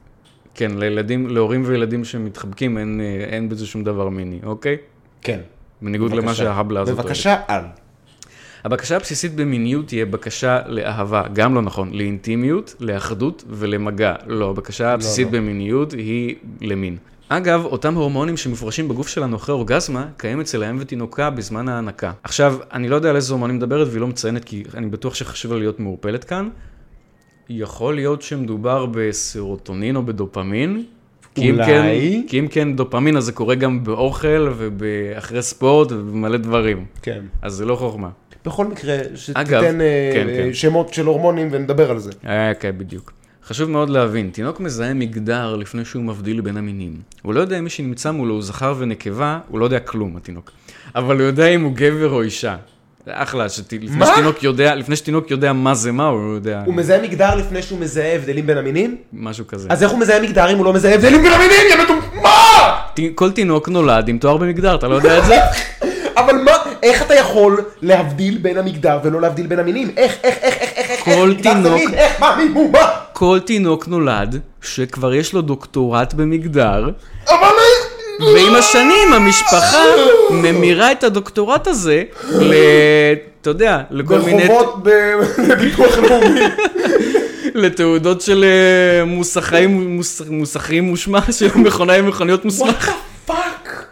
כן, לילדים, להורים וילדים שמתחבקים, אין, אה, אין בזה שום דבר מיני, אוקיי?
כן.
בניגוד למה שההבלה הזאת טוענת.
בבקשה, אל.
הבקשה הבסיסית במיניות תהיה בקשה לאהבה, גם לא נכון, לאינטימיות, לאחדות ולמגע. לא, הבקשה הבסיסית לא, במיניות היא למין. אגב, אותם הורמונים שמופרשים בגוף שלנו אחרי אורגזמה, קיים אצל האם ותינוקה בזמן ההנקה. עכשיו, אני לא יודע על איזה הורמונים מדברת והיא לא מציינת, כי אני בטוח שחשוב לה להיות מעורפלת כאן. יכול להיות שמדובר בסרוטונין או בדופמין. כי אם כן,
אולי.
כי אם כן דופמין, אז זה קורה גם באוכל ואחרי ספורט ובמלא דברים.
כן.
אז זה לא חוכמה.
בכל מקרה, שתיתן
אגב,
אה,
כן,
אה,
כן.
שמות של הורמונים ונדבר על זה.
אה, כן, בדיוק. חשוב מאוד להבין, תינוק מזהה מגדר לפני שהוא מבדיל בין המינים. הוא לא יודע אם מי שנמצא מולו הוא זכר ונקבה, הוא לא יודע כלום, התינוק. אבל הוא יודע אם הוא גבר או אישה. זה אחלה, שת... לפני,
מה?
שתינוק יודע, לפני שתינוק יודע מה זה מה, הוא יודע
הוא מזהה מגדר לפני שהוא מזהה הבדלים בין המינים?
משהו כזה.
אז איך הוא מזהה מגדר אם הוא לא מזהה הבדלים בין המינים? יא מטומ... מה?
ת... כל תינוק נולד עם תואר במגדר, אתה לא יודע את זה?
אבל מה, איך אתה יכול להבדיל בין המגדר ולא להבדיל בין המינים? איך, איך, איך, איך, איך, איך,
כל
מגדר זה
תינוק-
מין? איך, מה, מי, מו, מה?
כל תינוק נולד שכבר יש לו דוקטורט במגדר,
אבל...
ועם השנים המשפחה ממירה את הדוקטורט הזה ל... אתה יודע, לכל מיני...
ברחובות בביטוח לאומי.
לתעודות של אה, מוסכאים, מוס, מוסכים מושמע, של מכונאי מכוניות מוסמך.
וואט פאק?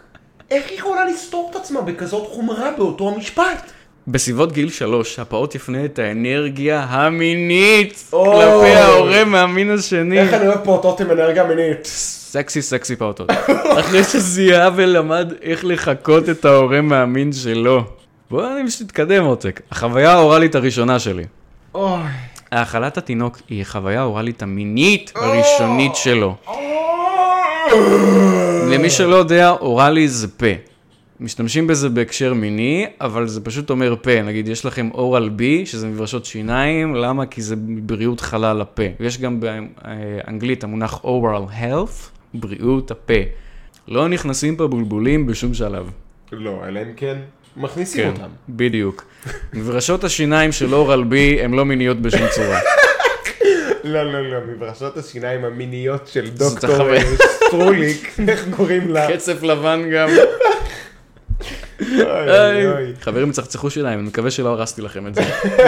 איך היא יכולה לסתור את עצמה בכזאת חומרה באותו המשפט?
בסביבות גיל שלוש, הפעוט יפנה את האנרגיה המינית
אוי.
כלפי ההורה מהמין השני.
איך אני אוהב פעוטות עם אנרגיה מינית?
סקסי סקסי פעוטות. אחרי שזיהה ולמד איך לחקות את ההורה מהמין שלו. בוא אני שתתקדם עותק. החוויה האוראלית הראשונה שלי.
אוי.
האכלת התינוק היא החוויה האוראלית המינית הראשונית שלו.
אה.
למי שלא יודע, אוראלי זה פה. משתמשים בזה בהקשר מיני, אבל זה פשוט אומר פה. נגיד, יש לכם אורל בי, שזה מברשות שיניים, למה? כי זה בריאות חלל הפה. יש גם באנגלית המונח oral health, בריאות הפה. לא נכנסים פה בולבולים בשום שלב.
לא, אלא אם כן מכניסים אותם.
בדיוק. מברשות השיניים של אורל בי הן לא מיניות בשום צורה.
לא, לא, לא, מברשות השיניים המיניות של
זאת
דוקטור
החוויה.
אה, סטרוליק, איך קוראים לה?
קצף לבן גם.
אוי, אוי.
חברים, צחצחו שיניים, אני מקווה שלא הרסתי לכם את זה.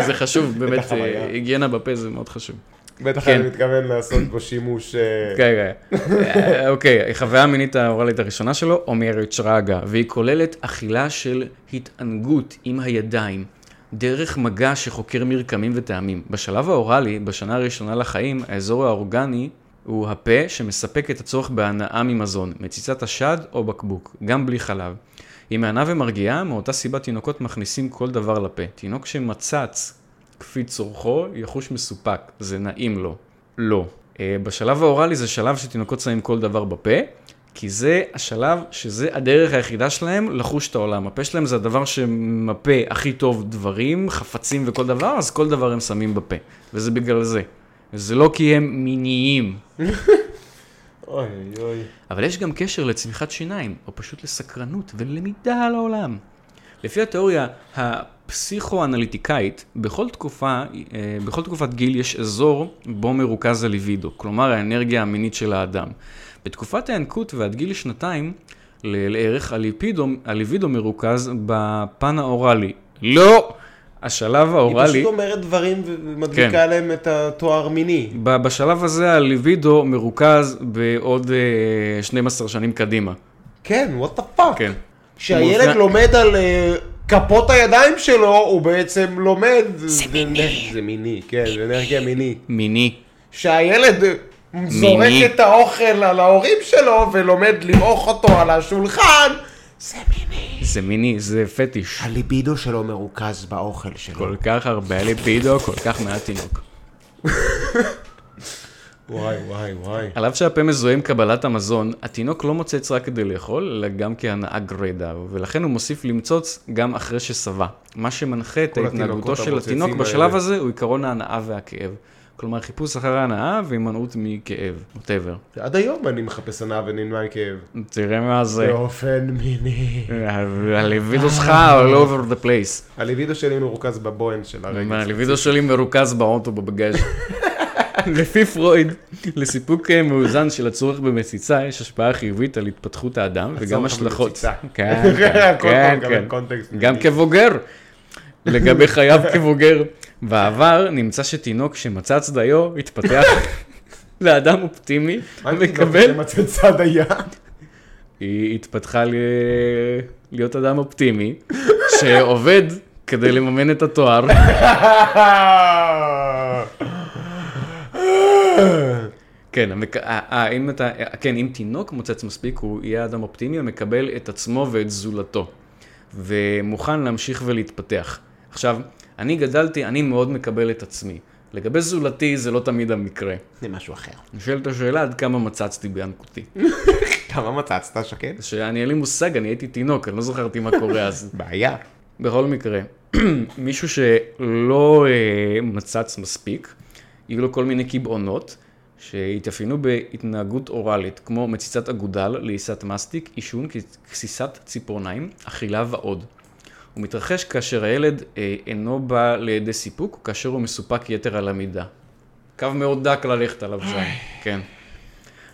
זה חשוב, באמת,
החוויה.
אה, היגיינה בפה זה מאוד חשוב.
בטח
כן.
אני מתכוון לעשות בו שימוש... אה,
כן, כן. אה, אוקיי, החוויה המינית האוראלית הראשונה שלו אומרת שרגא, והיא כוללת אכילה של התענגות עם הידיים. דרך מגע שחוקר מרקמים וטעמים. בשלב האוראלי, בשנה הראשונה לחיים, האזור האורגני הוא הפה שמספק את הצורך בהנאה ממזון, מציצת השד או בקבוק, גם בלי חלב. היא מהנה ומרגיעה, מאותה סיבה תינוקות מכניסים כל דבר לפה. תינוק שמצץ כפי צורכו, יחוש מסופק, זה נעים לו. לא. אה, בשלב האוראלי זה שלב שתינוקות שמים כל דבר בפה, כי זה השלב שזה הדרך היחידה שלהם לחוש את העולם. הפה שלהם זה הדבר שמפה הכי טוב דברים, חפצים וכל דבר, אז כל דבר הם שמים בפה. וזה בגלל זה. זה לא כי הם מיניים.
אוי, אוי, אוי.
אבל יש גם קשר לצמיחת שיניים, או פשוט לסקרנות ולמידה על העולם. לפי התיאוריה הפסיכואנליטיקאית, בכל תקופה, אה, בכל תקופת גיל יש אזור בו מרוכז הליבידו, כלומר האנרגיה המינית של האדם. בתקופת הינקות ועד גיל שנתיים, ל- לערך הליפידו, הליבידו מרוכז בפן האוראלי. לא! השלב
היא
האוראלי...
פשוט אומרת דברים ומדביקה להם את התואר מיני.
ב- בשלב הזה הליבידו מרוכז בעוד אה, 12 שנים קדימה.
כן, וואט דה פאק.
כן.
כשהילד
מאוזן-
לומד על אה, כפות הידיים שלו, הוא בעצם לומד... זה מיני. זה מיני, כן, זה אנרגיה מינית.
מיני.
שהילד אה, זורק
מיני.
את האוכל על ההורים שלו ולומד למעוך אותו על השולחן.
זה מיני, זה פטיש.
הליבידו שלו מרוכז באוכל שלו.
כל כך הרבה ליפידו, כל כך מעט תינוק.
וואי, וואי, וואי.
על אף שהפה מזוהה עם קבלת המזון, התינוק לא מוצץ רק כדי לאכול, אלא גם כהנאה גרידא, ולכן הוא מוסיף למצוץ גם אחרי ששבע. מה שמנחה את
כל התינוקות
ההתנהגותו של
המוצצים
התינוק בשלב
האלה.
הזה הוא עיקרון ההנאה והכאב. כלומר, חיפוש אחר הנאה והימנעות מכאב, ווטאבר.
עד היום אני מחפש הנאה ונמנע מכאב.
תראה מה זה.
באופן מיני.
הלווידו שלך all over the place.
הליבידו שלי מרוכז בבוהן של הרגע.
הלווידו שלי מרוכז באוטו בבגז'. לפי פרויד, לסיפוק אה, מאוזן של הצורך במציצה יש השפעה חיובית על התפתחות האדם וגם
הצורך
השלכות.
במציצה.
כן, כן,
הכל
כן,
פה, גם
כן.
בקונטקסט
גם כבוגר. לגבי חייו כבוגר. בעבר נמצא שתינוק שמצא צדיו התפתח לאדם אופטימי,
מה עם
מקבל...
תינוק שמצא צד היה?
היא התפתחה ל... להיות אדם אופטימי, שעובד כדי לממן את התואר. כן, המק... אה, אה, אם אתה... אה, כן, אם תינוק מוצץ מספיק, הוא יהיה אדם אופטימי המקבל את עצמו ואת זולתו, ומוכן להמשיך ולהתפתח. עכשיו, אני גדלתי, אני מאוד מקבל את עצמי. לגבי זולתי זה לא תמיד המקרה.
זה משהו אחר.
נשאלת השאלה עד כמה מצצתי בינקותי.
כמה מצצת, שקד?
שאני אין לי מושג, אני הייתי תינוק, אני לא זכרתי מה קורה אז.
בעיה.
בכל מקרה, מישהו שלא אה, מצץ מספיק, יהיו לו כל מיני קיבעונות שהתאפיינו בהתנהגות אוראלית, כמו מציצת אגודל, לעיסת מסטיק, עישון, גסיסת ציפורניים, אכילה ועוד. הוא מתרחש כאשר הילד אה, אינו בא לידי סיפוק, או כאשר הוא מסופק יתר על המידה. קו מאוד דק ללכת עליו שם, כן.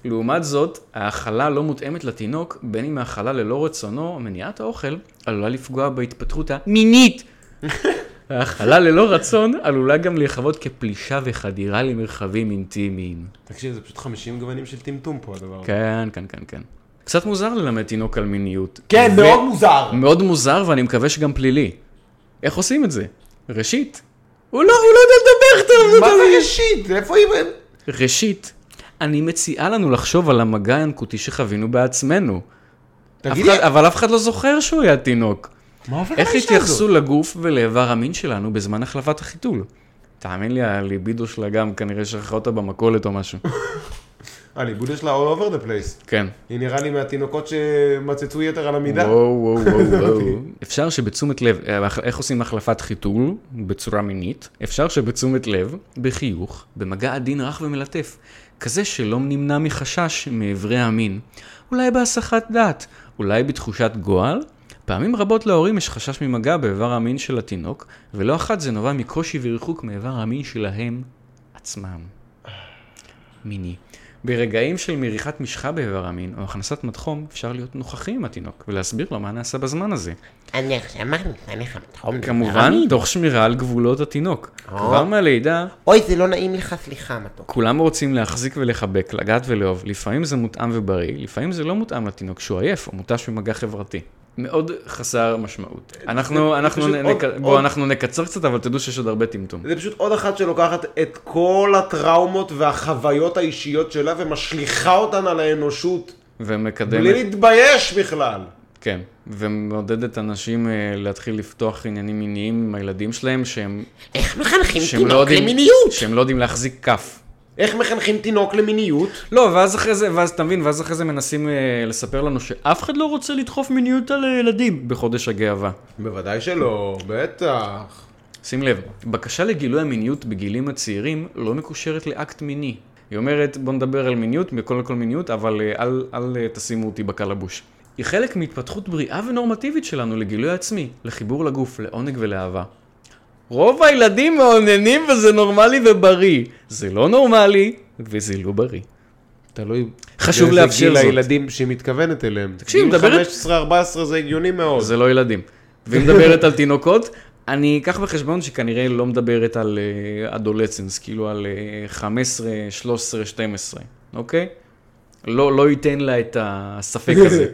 לעומת זאת, ההאכלה לא מותאמת לתינוק, בין אם ההאכלה ללא רצונו, מניעת האוכל עלולה לפגוע בהתפתחות המינית. ההאכלה ללא רצון עלולה גם להיחוות כפלישה וחדירה למרחבים אינטימיים.
תקשיב, זה פשוט 50 גוונים של טמטום פה הדבר הזה.
כן, כן, כן, כן. קצת מוזר ללמד תינוק על מיניות.
כן,
ו-
מאוד מוזר.
מאוד מוזר, ואני מקווה שגם פלילי. איך עושים את זה? ראשית, הוא לא, הוא לא יודע לדבר טוב.
מה זה ראשית? איפה היא...
ראשית, אני מציעה לנו לחשוב על המגע הינקותי שחווינו בעצמנו. אף
תגידי,
אחד, אבל אף אחד לא זוכר שהוא היה תינוק.
מה עובר
איך
האישה הזאת?
התייחסו לגוף ולאיבר המין שלנו בזמן החלפת החיתול? תאמין לי, הליבידו שלה גם כנראה שכחה אותה במכולת או משהו.
הליבוד שלה all over the place.
כן.
היא נראה לי מהתינוקות שמצצו יתר על המידה.
וואו, וואו, וואו, וואו. אפשר שבתשומת לב, אה, איך עושים החלפת חיתול בצורה מינית? אפשר שבתשומת לב, בחיוך, במגע עדין רך ומלטף. כזה שלא נמנע מחשש מאיברי המין. אולי בהסחת דעת, אולי בתחושת גועל? פעמים רבות להורים יש חשש ממגע באיבר המין של התינוק, ולא אחת זה נובע מקושי וריחוק מאיבר המין שלהם עצמם. מיני. ברגעים של מריחת משחה באיבר המין או הכנסת מדחום, אפשר להיות נוכחים עם התינוק ולהסביר לו מה נעשה בזמן הזה.
אני עכשיו אמרתי, אני
אוקיי.
חמתחום.
אוקיי, כמובן, תוך שמירה על גבולות התינוק. כבר מהלידה,
אוי, זה לא נעים לך, סליחה, מתוק.
כולם רוצים להחזיק ולחבק, לגעת ולאהוב. לפעמים זה מותאם ובריא, לפעמים זה לא מותאם לתינוק שהוא עייף או מותש במגע חברתי. מאוד חסר משמעות. אנחנו, אנחנו,
פשוט
נ-
עוד-
נק- בואו,
עוד-
אנחנו נקצר קצת, אבל תדעו שיש עוד הרבה טמטום.
זה פשוט עוד אחת שלוקחת את כל הטראומות והחוויות האישיות שלה ומשליכה אותן על האנושות,
ומקדמת,
בלי להתבייש בכלל.
כן, ומעודדת אנשים אה, להתחיל לפתוח עניינים מיניים עם הילדים שלהם, שהם
איך מחנכים
שהם לא
תינוק
יודעים,
למיניות?
שהם לא יודעים להחזיק כף.
איך מחנכים תינוק למיניות?
לא, ואז אחרי זה, ואז אתה מבין, ואז אחרי זה מנסים אה, לספר לנו שאף אחד לא רוצה לדחוף מיניות על אה, ילדים בחודש הגאווה.
בוודאי שלא, בטח.
שים לב, בקשה לגילוי המיניות בגילים הצעירים לא מקושרת לאקט מיני. היא אומרת, בוא נדבר על מיניות, מכל לכל מיניות, אבל אה, אל, אל אה, תשימו אותי בקלבוש. היא חלק מהתפתחות בריאה ונורמטיבית שלנו לגילוי עצמי, לחיבור לגוף, לעונג ולאהבה. רוב הילדים מאוננים וזה נורמלי ובריא. זה לא נורמלי וזה לא בריא.
תלוי.
חשוב לאפשר
זה גיל
זאת.
הילדים שהיא מתכוונת אליהם.
תקשיב, מדברת-
גיל 15-14 זה הגיוני מאוד.
זה לא ילדים. והיא מדברת על תינוקות, אני אקח בחשבון שכנראה לא מדברת על אדולצנס, כאילו על אה, 15, 13, 12, אוקיי? לא, לא ייתן לה את הספק הזה.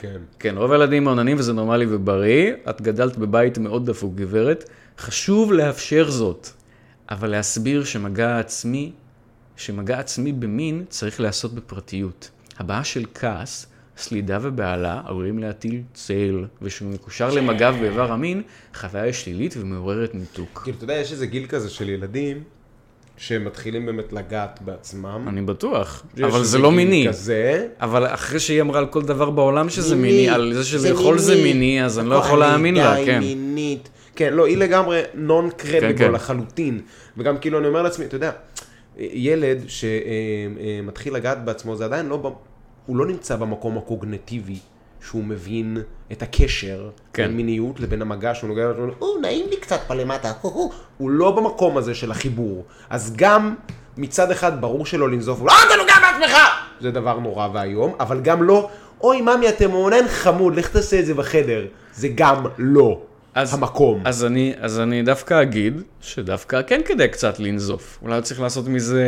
כן.
כן, רוב הילדים מעוננים וזה נורמלי ובריא, את גדלת בבית מאוד דפוק, גברת. חשוב לאפשר זאת, אבל להסביר שמגע עצמי, שמגע עצמי במין צריך להיעשות בפרטיות. הבעה של כעס, סלידה ובהלה עלולים להטיל צל, ושהוא מקושר למגע באיבר המין, חוויה היא שלילית ומעוררת ניתוק.
כאילו, אתה יודע, יש איזה גיל כזה של ילדים שמתחילים באמת לגעת בעצמם.
אני בטוח,
יש
אבל
איזה
זה לא
גיל
מיני.
כזה.
אבל אחרי שהיא אמרה על כל דבר בעולם שזה
מיני,
מיני, על זה שזה
זה
יכול זה
מיני.
נכון,
מיני, אז אני לא
הכל
יכול להאמין לה,
די
כן.
מינית.
כן, לא, היא לגמרי נון
כן, כן.
קרדיבול לחלוטין. וגם כאילו אני אומר לעצמי, אתה יודע, ילד שמתחיל לגעת בעצמו, זה עדיין לא, ב- הוא לא נמצא במקום הקוגנטיבי. שהוא מבין את הקשר
כן.
בין מיניות לבין המגע שהוא נוגע, הוא אומר, "או, נעים לי קצת פה למטה, הו, הו." הוא לא במקום הזה של החיבור. אז גם מצד אחד ברור שלא לנזוף, לא, אתה נוגע בעצמך! זה דבר נורא ואיום, אבל גם לא, אוי, ממי, אתה מעונן חמוד, לך תעשה את זה בחדר. זה גם לא
אז-
המקום.
אז אני, אז אני דווקא אגיד שדווקא כן כדאי קצת לנזוף. אולי לא צריך לעשות מזה,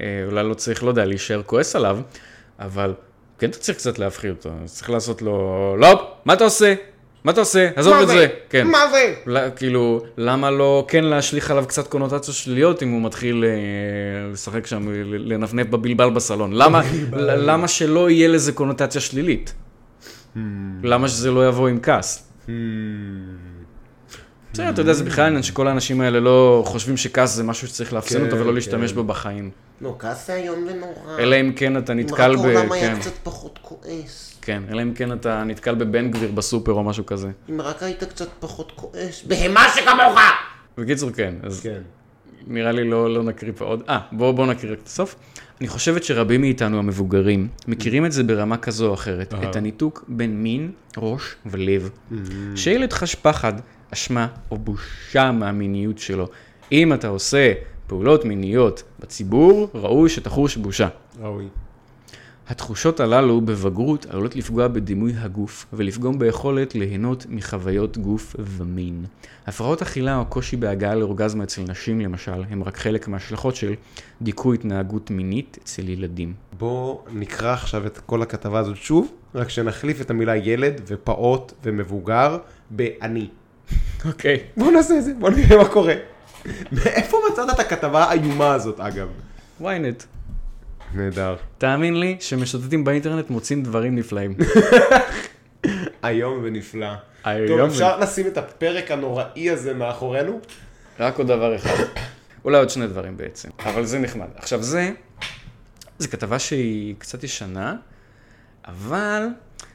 אה, אולי לא צריך, לא יודע, להישאר כועס עליו, אבל כן אתה צריך קצת להפחיד אותו. אז צריך לעשות לו, לא, מה אתה עושה? מה אתה עושה? עזוב את זה. כן.
מה זה?
לא, כאילו, למה לא כן להשליך עליו קצת קונוטציות שליליות אם הוא מתחיל אה, לשחק שם, ל- לנפנף בבלבל בסלון? למה, ל- למה שלא יהיה לזה קונוטציה שלילית? למה שזה לא יבוא עם כעס? בסדר, אתה יודע, זה בכלל עניין שכל האנשים האלה לא חושבים שכעס זה משהו שצריך לאפסן אותו ולא להשתמש בו בחיים.
נו, כעס זה איום ונורא.
אלא אם כן אתה נתקל
רק
ב...
העולם
כן,
היה קצת פחות כועס.
כן, אלא אם כן אתה נתקל בבן גביר בסופר או משהו כזה.
אם רק היית קצת פחות כועס. בהמה שכמוך!
בקיצור, כן, אז
כן.
נראה לי לא, לא נקריא פה עוד. אה, בואו בוא נקריא רק את הסוף. אני חושבת שרבים מאיתנו המבוגרים מכירים את זה ברמה כזו או אחרת, את הניתוק בין מין, ראש ולב. שילד חש פחד, אשמה או בושה מהמיניות שלו. אם אתה עושה פעולות מיניות בציבור, ראוי שתחוש בושה.
ראוי.
התחושות הללו בבגרות עלולות לפגוע בדימוי הגוף ולפגום ביכולת ליהנות מחוויות גוף ומין. הפרעות אכילה או קושי בהגעה לאורגזמה אצל נשים למשל, הם רק חלק מההשלכות של דיכוי התנהגות מינית אצל ילדים.
בואו נקרא עכשיו את כל הכתבה הזאת שוב, רק שנחליף את המילה ילד ופעוט ומבוגר ב"אני".
אוקיי.
בואו נעשה את זה, בואו נראה מה קורה. מאיפה מצאת את הכתבה האיומה הזאת, אגב?
ynet.
נהדר.
תאמין לי שמשוטטים באינטרנט מוצאים דברים נפלאים.
איום ונפלא.
איום
טוב,
ונפלא.
אפשר לשים את הפרק הנוראי הזה מאחורינו?
רק עוד דבר אחד. אולי עוד שני דברים בעצם, אבל זה נחמד. עכשיו זה, זו כתבה שהיא קצת ישנה, אבל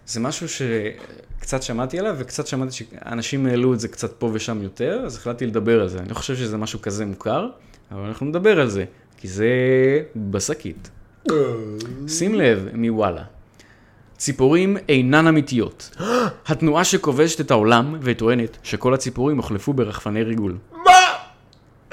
זה משהו שקצת שמעתי עליו, וקצת שמעתי שאנשים העלו את זה קצת פה ושם יותר, אז החלטתי לדבר על זה. אני לא חושב שזה משהו כזה מוכר, אבל אנחנו נדבר על זה, כי זה בשקית. שים לב, מוואלה. ציפורים אינן אמיתיות. התנועה שכובשת את העולם וטוענת שכל הציפורים הוחלפו ברחפני ריגול.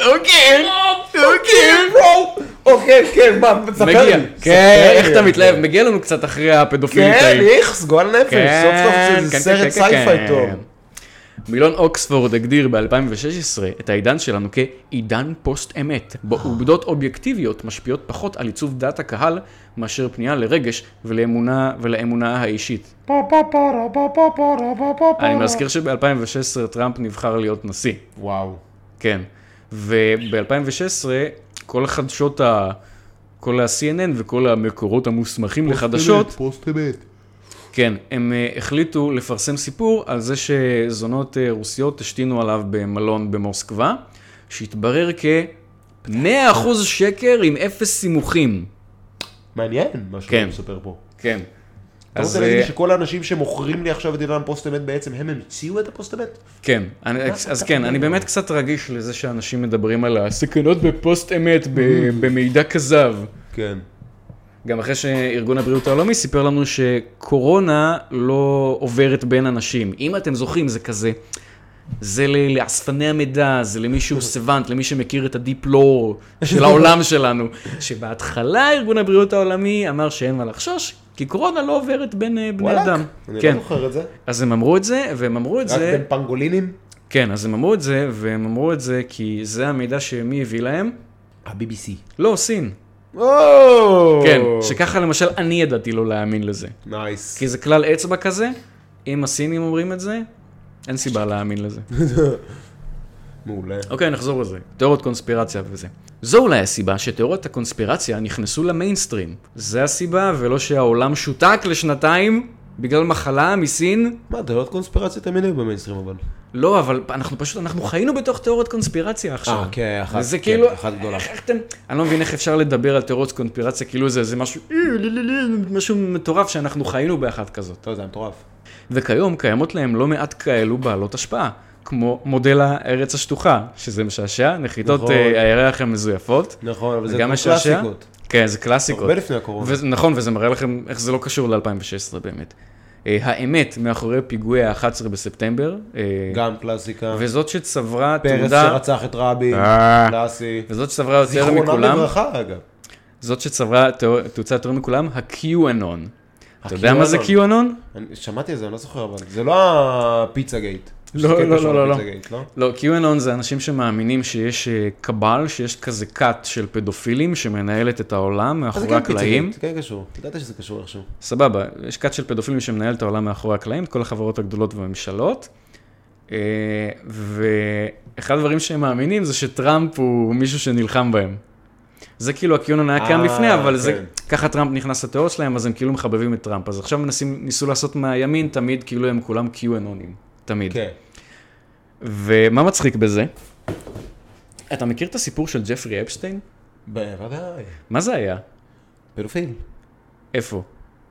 אוקיי, אוקיי, בואו. אוקיי, כן, מה, תספר לי.
מגיע,
ספר
כן,
לי
איך
על
אתה
זה.
מתלהב, מגיע לנו קצת אחרי הפדופילית
כן,
ההיא.
איכס, גועל נפש,
כן,
סוף סוף זה סרט סייפיי טוב.
מילון אוקספורד הגדיר ב-2016 את העידן שלנו כעידן פוסט-אמת, בו
אה.
עובדות אובייקטיביות משפיעות פחות על עיצוב דעת הקהל מאשר פנייה לרגש ולאמונה, ולאמונה האישית. אני מזכיר שב-2016 טראמפ נבחר להיות נשיא.
וואו.
כן. וב-2016, כל חדשות ה... כל ה-CNN וכל המקורות המוסמכים
אוקיי,
לחדשות,
פוסט אמת.
כן, הם אה, החליטו לפרסם סיפור על זה שזונות אה, רוסיות השתינו עליו במלון במוסקבה, שהתברר כ-100% שקר עם אפס סימוכים.
מעניין מה שאתה
כן.
מספר פה.
כן.
אתה רוצה
אה,
להגיד לי שכל האנשים שמוכרים לי עכשיו את עידן פוסט אמת בעצם הם המציאו את הפוסט אמת?
כן,
אה,
אני, אז כן, אני באמת קצת רגיש לזה שאנשים מדברים על הסכנות בפוסט אמת, ב-
Mm.
במידע כזב.
כן.
גם אחרי שארגון הבריאות העולמי סיפר לנו שקורונה לא עוברת בין אנשים. אם אתם זוכרים, זה כזה, זה ל- לאספני המידע, זה למי שהוא סוונט, למי שמכיר את הדיפ לור של העולם שלנו. שבהתחלה ארגון הבריאות העולמי אמר שאין מה לחשוש, כי קורונה לא עוברת בין אה, בני
וואלאק,
אדם.
אני
כן,
לא זוכר את זה.
אז הם אמרו את זה, והם אמרו את
רק
זה...
בין פנגולינים?
כן, אז הם אמרו את זה, והם אמרו את זה כי זה המידע שמי הביא להם?
ה-BBC.
לא, סין.
או!
כן, שככה למשל אני ידעתי לא להאמין לזה.
נייס.
כי זה כלל אצבע כזה, אם הסינים אומרים את זה, אין סיבה להאמין לזה.
מעולה.
אוקיי, נחזור לזה. תיאוריות קונספירציה וזה. זו אולי הסיבה שתיאוריות הקונספירציה נכנסו למיינסטרים. זה הסיבה, ולא שהעולם שותק לשנתיים בגלל מחלה מסין.
מה, דעות קונספירציה תמיד היו במיינסטרים אבל.
לא, אבל אנחנו פשוט, אנחנו חיינו בתוך תיאוריות קונספירציה עכשיו.
אה, כן, אחת-
וזה
כן,
כאילו,
אחת גדולה.
איך, איך אתם, אני לא מבין איך אפשר לדבר על תיאוריות קונספירציה, כאילו זה, זה משהו, אה, לא, לא, לא, משהו מטורף שאנחנו חיינו באחת כזאת.
טוב, זה היה מטורף.
וכיום קיימות להם לא מעט כאלו בעלות השפעה. כמו מודל הארץ השטוחה, שזה משעשע, נחיתות
נכון.
אה, הירח הן מזויפות.
נכון, אבל
זה
זה
גם
כמו
משעשע.
קלאסיקות.
כן, זה קלאסיקות.
הרבה לפני הקורונה.
וזה- נכון, וזה מראה לכם איך זה לא קשור ל-2016 באמת. אה, האמת מאחורי פיגועי ה-11 בספטמבר, אה,
גם קלאסיקה.
וזאת שצברה
פרס
תעודה,
שרצח את רבין,
אה.
קלאסי.
וזאת שצברה יותר
זיכרונם
מכולם,
לברכה, אגב.
זאת שצברה תאו- תאוצה יותר מכולם, ה-QAnon. אתה יודע מה זה
ה-QAnon?
QAnon?
אני- שמעתי על זה, אני לא זוכר, אבל זה לא הפיצה גייט.
לא, לא, לא, לא, לא.
לא.
לא, QAnon זה אנשים שמאמינים שיש אה, קבל, שיש כזה כת של פדופילים שמנהלת את העולם
אז זה
מאחורי
כן פיצה
הקלעים.
גייט, כן קשור. ידעת שזה קשור איכשהו.
סבבה, יש כת של פדופילים שמנהל את העולם מאחורי הקלעים, את כל החברות הגדולות והממשלות. אה, ואחד הדברים שהם מאמינים זה שטראמפ הוא מישהו שנלחם בהם. זה כאילו הקיונון היה קיים
אה,
לפני, אבל זה,
כן.
ככה טראמפ נכנס לתיאוריות שלהם, אז הם כאילו מחבבים את טראמפ. אז עכשיו מנסים, ניסו לעשות מהימין, תמיד כאילו הם כולם QAnונים, תמיד.
כן.
ומה מצחיק בזה? אתה מכיר את הסיפור של ג'פרי אפשטיין?
בוודאי.
מה זה היה?
פדופיל.
איפה?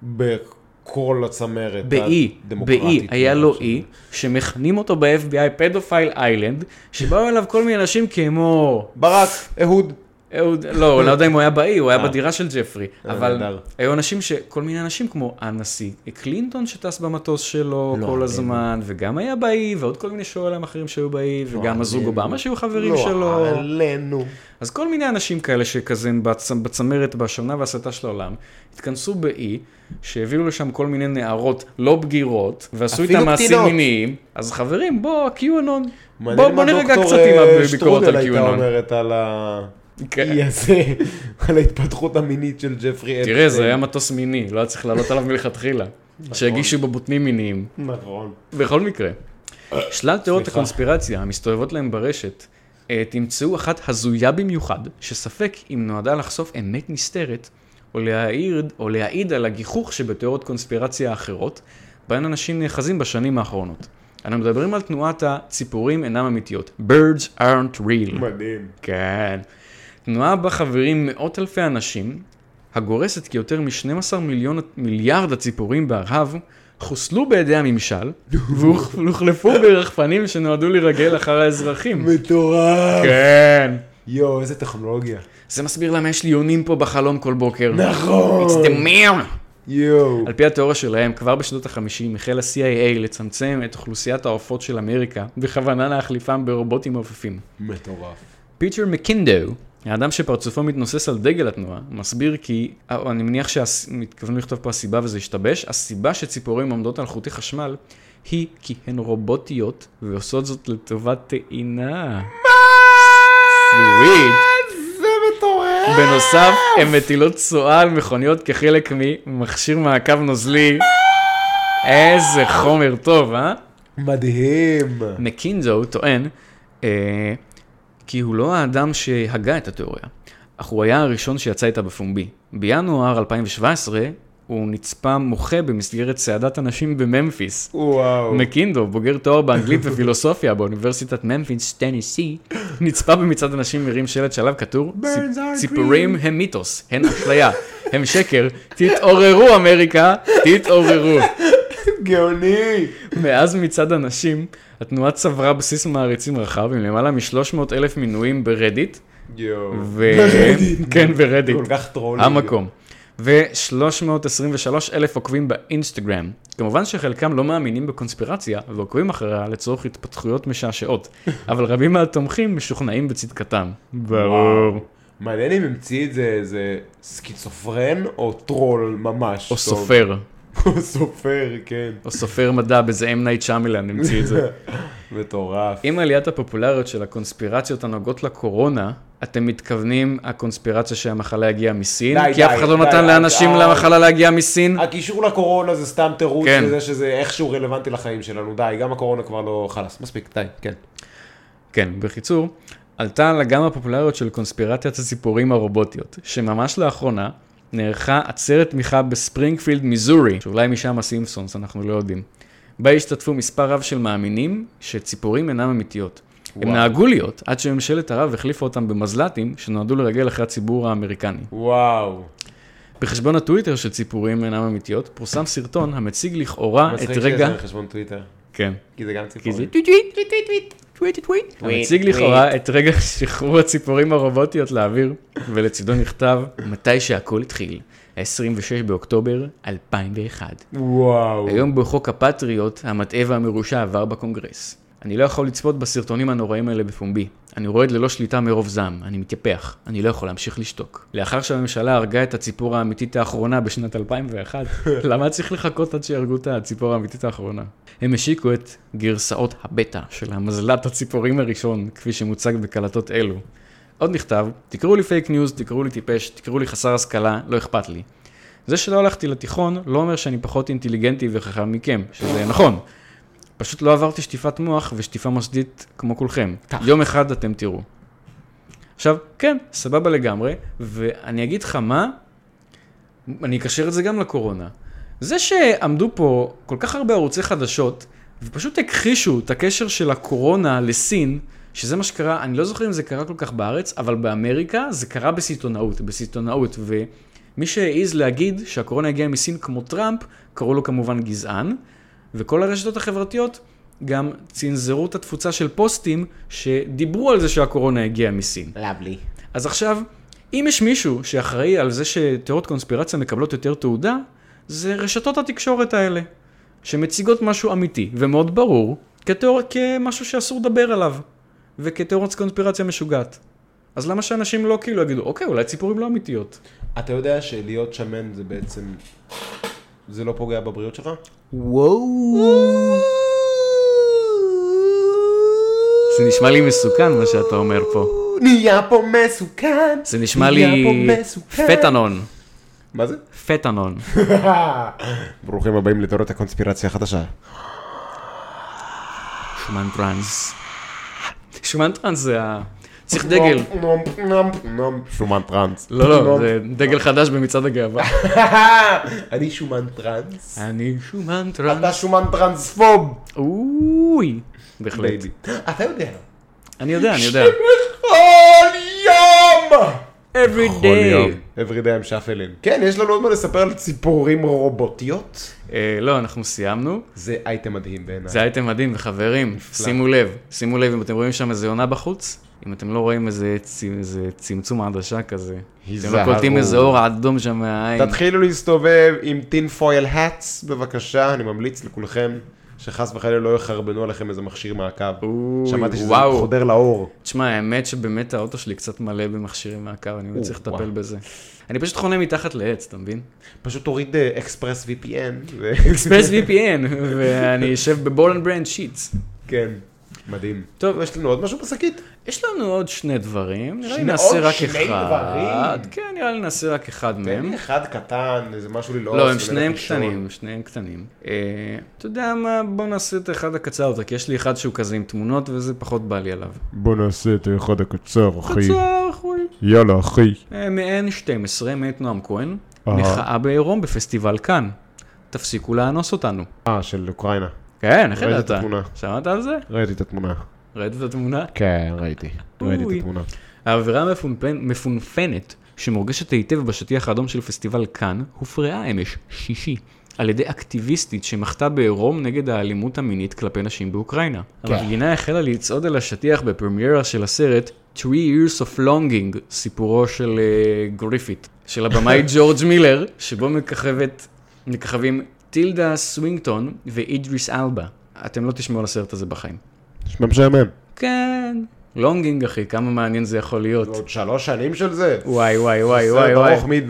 בכל הצמרת
באי, באי,
הדמוקרטית.
היה לו אי, שמכנים אותו ב-FBI פדופייל איילנד, שבאו אליו כל מיני אנשים כמו...
ברק, אהוד.
אהוד, לא, אני לא יודע אם הוא היה באי, הוא היה בדירה של ג'פרי,
אה,
אבל
נהדר.
היו אנשים ש... כל מיני אנשים כמו הנשיא קלינטון שטס במטוס שלו
לא,
כל
אני-
הזמן, וגם היה באי, ועוד כל מיני שואלים אחרים שהיו באי, וגם הזוג אובמה שהיו חברים שלו.
לא עלינו.
אז כל מיני אנשים כאלה שכזה הם בצ... בצמרת, בהשמנה והסתה של העולם, התכנסו באי, שהביאו לשם כל מיני נערות לא בגירות, ועשו
אפילו
איתם מעשים
קטינות.
מיניים. אז חברים, בוא, ה-QAnon. בוא,
מעניין
בוא
מה
נרגע
דוקטור,
קצת
אה,
עם הביקורת
שטרודל
על
הייתה
QAnon.
אומרת על ה...
כן.
אי הזה, על ההתפתחות המינית של ג'פרי אפשטיין.
תראה, זה היה מטוס מיני, לא היה צריך לעלות עליו מלכתחילה. שהגישו בבוטנים מיניים.
נכון.
בכל מקרה, שלל תיאוריות הקונספירציה המסתובבות להם ברשת, אה, תמצאו אחת הזויה במיוחד, שספק אם נועדה לחשוף אמת נסתרת, או להעיד, או להעיד על הגיחוך שבתיאוריות קונספירציה האחרות, בהן אנשים נאחזים בשנים האחרונות. אנו מדברים על תנועת הציפורים אינם אמיתיות. Birds aren't real.
מדהים.
כן. תנועה בה חברים מאות אלפי אנשים, הגורסת כי יותר מ-12 מיליון, מיליארד הציפורים בארהב, חוסלו בידי הממשל, והוחלפו ברחפנים שנועדו לרגל אחר האזרחים.
מטורף.
כן.
יואו, איזה טכנולוגיה.
זה מסביר למה יש לי יונים פה בחלום כל בוקר.
נכון.
דמיון.
יואו.
על פי התיאוריה שלהם, כבר בשנות ה-50 החל ה-CIA לצמצם את אוכלוסיית העופות של אמריקה, בכוונה להחליפם ברובוטים מעופפים.
מטורף.
פיטר מקינדו, האדם שפרצופו מתנוסס על דגל התנועה, מסביר כי, אה, אני מניח שמתכוונים לכתוב פה הסיבה וזה השתבש, הסיבה שציפורים עומדות על חוטי חשמל היא כי הן רובוטיות ועושות זאת לטובת טעינה. סוויט.
זה מטורף.
בנוסף, הן מטילות צואה על מכוניות כחלק ממכשיר מעקב נוזלי. איזה חומר טוב, אה?
מדהים.
מקינזו טוען אה, כי הוא לא האדם שהגה את התיאוריה, אך הוא היה הראשון שיצא איתה בפומבי. בינואר 2017 הוא נצפה מוחה במסגרת צעדת הנשים בממפיס.
וואו.
מקינדו, בוגר תואר באנגלית ופילוסופיה באוניברסיטת ממפיס, טניסי, נצפה במצעד אנשים מרים שלט שעליו כתוב, "צי-
are
ציפורים הם מיתוס, הן אשליה, הם שקר, תתעוררו אמריקה, תתעוררו.
גאוני.
מאז מצד הנשים, התנועה צברה בסיס מעריצים רחב עם למעלה מ-300 אלף מינויים ברדיט.
יואו.
ו... כן, ברדיט.
כל כך טרולי.
המקום. ו-323 אלף עוקבים באינסטגרם. כמובן שחלקם לא מאמינים בקונספירציה ועוקבים אחריה לצורך התפתחויות משעשעות, אבל רבים מהתומכים משוכנעים בצדקתם. ברור.
מעניין אם המציא את זה איזה סקיצופרן או טרול ממש.
או
טוב.
סופר,
או סופר, כן.
או סופר מדע באיזה M. Night Shyamalan המציא את זה.
מטורף.
עם עליית הפופולריות של הקונספירציות הנוגעות לקורונה, אתם מתכוונים, הקונספירציה שהמחלה הגיעה מסין?
די,
כי אף
די,
אחד לא
די, אה,
נתן
די,
לאנשים
די.
למחלה להגיע מסין?
הקישור לקורונה זה סתם תירוץ
כן.
לזה שזה איכשהו רלוונטי לחיים שלנו, די, גם הקורונה כבר לא חלאס, מספיק, די, כן.
כן, בקיצור, עלתה על אגם הפופולריות של קונספירציית הציפורים הרובוטיות, שממש לאחרונה נערכה עצרת תמיכה בספרינגפילד, מיזורי, שאולי משם הסימפסונס, אנחנו לא יודעים, בה השתתפו מספר רב של מאמינים שציפורים אינם אמיתיות. הם
וואו.
נהגו להיות עד שממשלת ערב החליפה אותם במזל"טים שנועדו לרגל אחרי הציבור האמריקני.
וואו.
בחשבון הטוויטר של ציפורים אינם אמיתיות, פורסם סרטון המציג לכאורה את
מצחיק שיש
רגע...
להם חשבון טוויטר.
כן.
כי זה גם
כי זה
ציפורים.
טוויט טוויט טוויט טוויט טוויט טוויט
טוויט,
המציג
טוויט.
לכאורה את רגע שחרור הציפורים הרובוטיות לאוויר, ולצידו נכתב מתי שהכל התחיל, ה-26 באוקטובר 2001.
וואו.
היום בחוק הפטריוט, המטעה והמרושע עבר בקונגרס. אני לא יכול לצפות בסרטונים הנוראים האלה בפומבי. אני רועד ללא שליטה מרוב זעם, אני מתייפח, אני לא יכול להמשיך לשתוק. לאחר שהממשלה הרגה את הציפור האמיתית האחרונה בשנת 2001, למה צריך לחכות עד שיהרגו את הציפור האמיתית האחרונה? הם השיקו את גרסאות הבטא של המזלת הציפורים הראשון, כפי שמוצג בקלטות אלו. עוד נכתב, תקראו לי פייק ניוז, תקראו לי טיפש, תקראו לי חסר השכלה, לא אכפת לי. זה שלא הלכתי לתיכון לא אומר שאני פחות אינטליגנטי וחכם מכם, שזה נכון. פשוט לא עברתי שטיפת מוח ושטיפה מוסדית כמו כולכם. יום אחד אתם תראו. עכשיו, כן, סבבה לגמרי, ואני אגיד לך מה, אני אקשר את זה גם לקורונה. זה שעמדו פה כל כך הרבה ערוצי חדשות, ופשוט הכחישו את הקשר של הקורונה לסין, שזה מה שקרה, אני לא זוכר אם זה קרה כל כך בארץ, אבל באמריקה זה קרה בסיטונאות, בסיטונאות, ומי שהעז להגיד שהקורונה הגיעה מסין כמו טראמפ, קראו לו כמובן גזען, וכל הרשתות החברתיות גם צנזרו את התפוצה של פוסטים שדיברו על זה שהקורונה הגיעה מסין.
לבלי.
אז עכשיו, אם יש מישהו שאחראי על זה שתיאוריות קונספירציה מקבלות יותר תעודה, זה רשתות התקשורת האלה, שמציגות משהו אמיתי ומאוד ברור, כתיאור... כמשהו שאסור לדבר עליו, וכתיאוריית קונספירציה משוגעת. אז למה שאנשים לא כאילו יגידו, אוקיי, אולי ציפורים לא אמיתיות?
אתה יודע שלהיות שמן זה בעצם... זה לא פוגע בבריאות שלך?
וואו. זה נשמע לי מסוכן מה שאתה אומר פה.
נהיה פה מסוכן.
זה נשמע
נהיה
לי
פה מסוכן.
פטנון,
מה זה?
פטנון.
ברוכים הבאים לתיאוריית הקונספירציה החדשה.
שומן טראנס. שומן טראנס זה ה... צריך דגל.
נום, נום, נום. שומן טראנס.
לא, לא,
נום.
זה דגל חדש במצעד הגאווה.
אני שומן טראנס.
אני שומן
אתה
טראנס.
שומן טרנספוב.
אוי. בהחלט.
בייבי. אתה יודע.
אני יודע, אני יודע.
כל יום!
every
Every day I'm shuffling. כן, יש לנו עוד מה לספר על ציפורים רובוטיות.
אה, לא, אנחנו סיימנו.
זה אייטם מדהים בעיניי.
זה הייתם מדהים, וחברים, שימו לב, שימו לב אם אתם רואים שם איזה יונה בחוץ, אם אתם לא רואים איזה צ- איזה צמצום עדשה כזה. אתם לא
היזהרו.
קולטים איזה אור אדום שם מהעין.
תתחילו להסתובב עם טין פויל האטס, בבקשה, אני ממליץ לכולכם שחס וחלילה לא יחרבנו עליכם איזה מכשיר מעקב.
אוי,
שמעתי שזה
וואו.
חודר לאור.
תשמע, האמת שבאמת האוטו שלי קצת מלא במכשירים מהקו, אני באמת צריך
וואו.
לטפל בזה. אני פשוט חונה מתחת לעץ, אתה מבין?
פשוט אה, תוריד אקספרס VPN. ו-
אקספרס VPN, ואני אשב בבול אנד ברנד שיטס.
כן, מדהים.
טוב.
טוב, יש לנו עוד משהו בשקית?
יש לנו עוד שני דברים, נראה לי
שני-
נעשה
עוד
רק
שני
אחד.
דברים? כן,
כן, נראה לי נעשה רק אחד
תן
מהם.
לי אחד קטן, איזה משהו ללעוס.
כן? לא, הם
וללכת
שניהם
לישון.
קטנים, שניהם קטנים. אה, אתה יודע מה, בוא נעשה את האחד הקצר יותר, כי יש לי אחד שהוא כזה עם תמונות, וזה פחות בא לי עליו.
בוא נעשה את האחד הקצר, אחי.
קצר, אחוי.
יאללה, אחי.
אה, מ-N12, מאת נועם כהן,
אה.
מחאה בעירום בפסטיבל כאן. תפסיקו לאנוס אותנו.
אה, של אוקראינה.
כן, איך
ראיתי את
ידעת?
התמונה.
שמעת על זה?
ראיתי את התמונה.
ראית את התמונה?
כן, ראיתי. ראיתי
אוי.
את התמונה.
האווירה המפונפנ- מפונפנת שמורגשת היטב בשטיח האדום של פסטיבל כאן, הופרעה אמש, שישי, על ידי אקטיביסטית שמחתה בעירום נגד האלימות המינית כלפי נשים באוקראינה. המפגינה החלה לצעוד על השטיח בפרמיירה של הסרט Three Years of Longing, סיפורו של uh, גריפית, של הבמאי ג'ורג' מילר, שבו מככבת, מככבים טילדה סווינגטון ואידריס אלבה. אתם לא תשמעו על הסרט הזה בחיים.
נשמע משעמם.
כן, לונגינג אחי, כמה מעניין זה יכול להיות.
עוד שלוש שנים של זה.
וואי וואי וואי וואי
סרט
וואי.
ארוך מדי.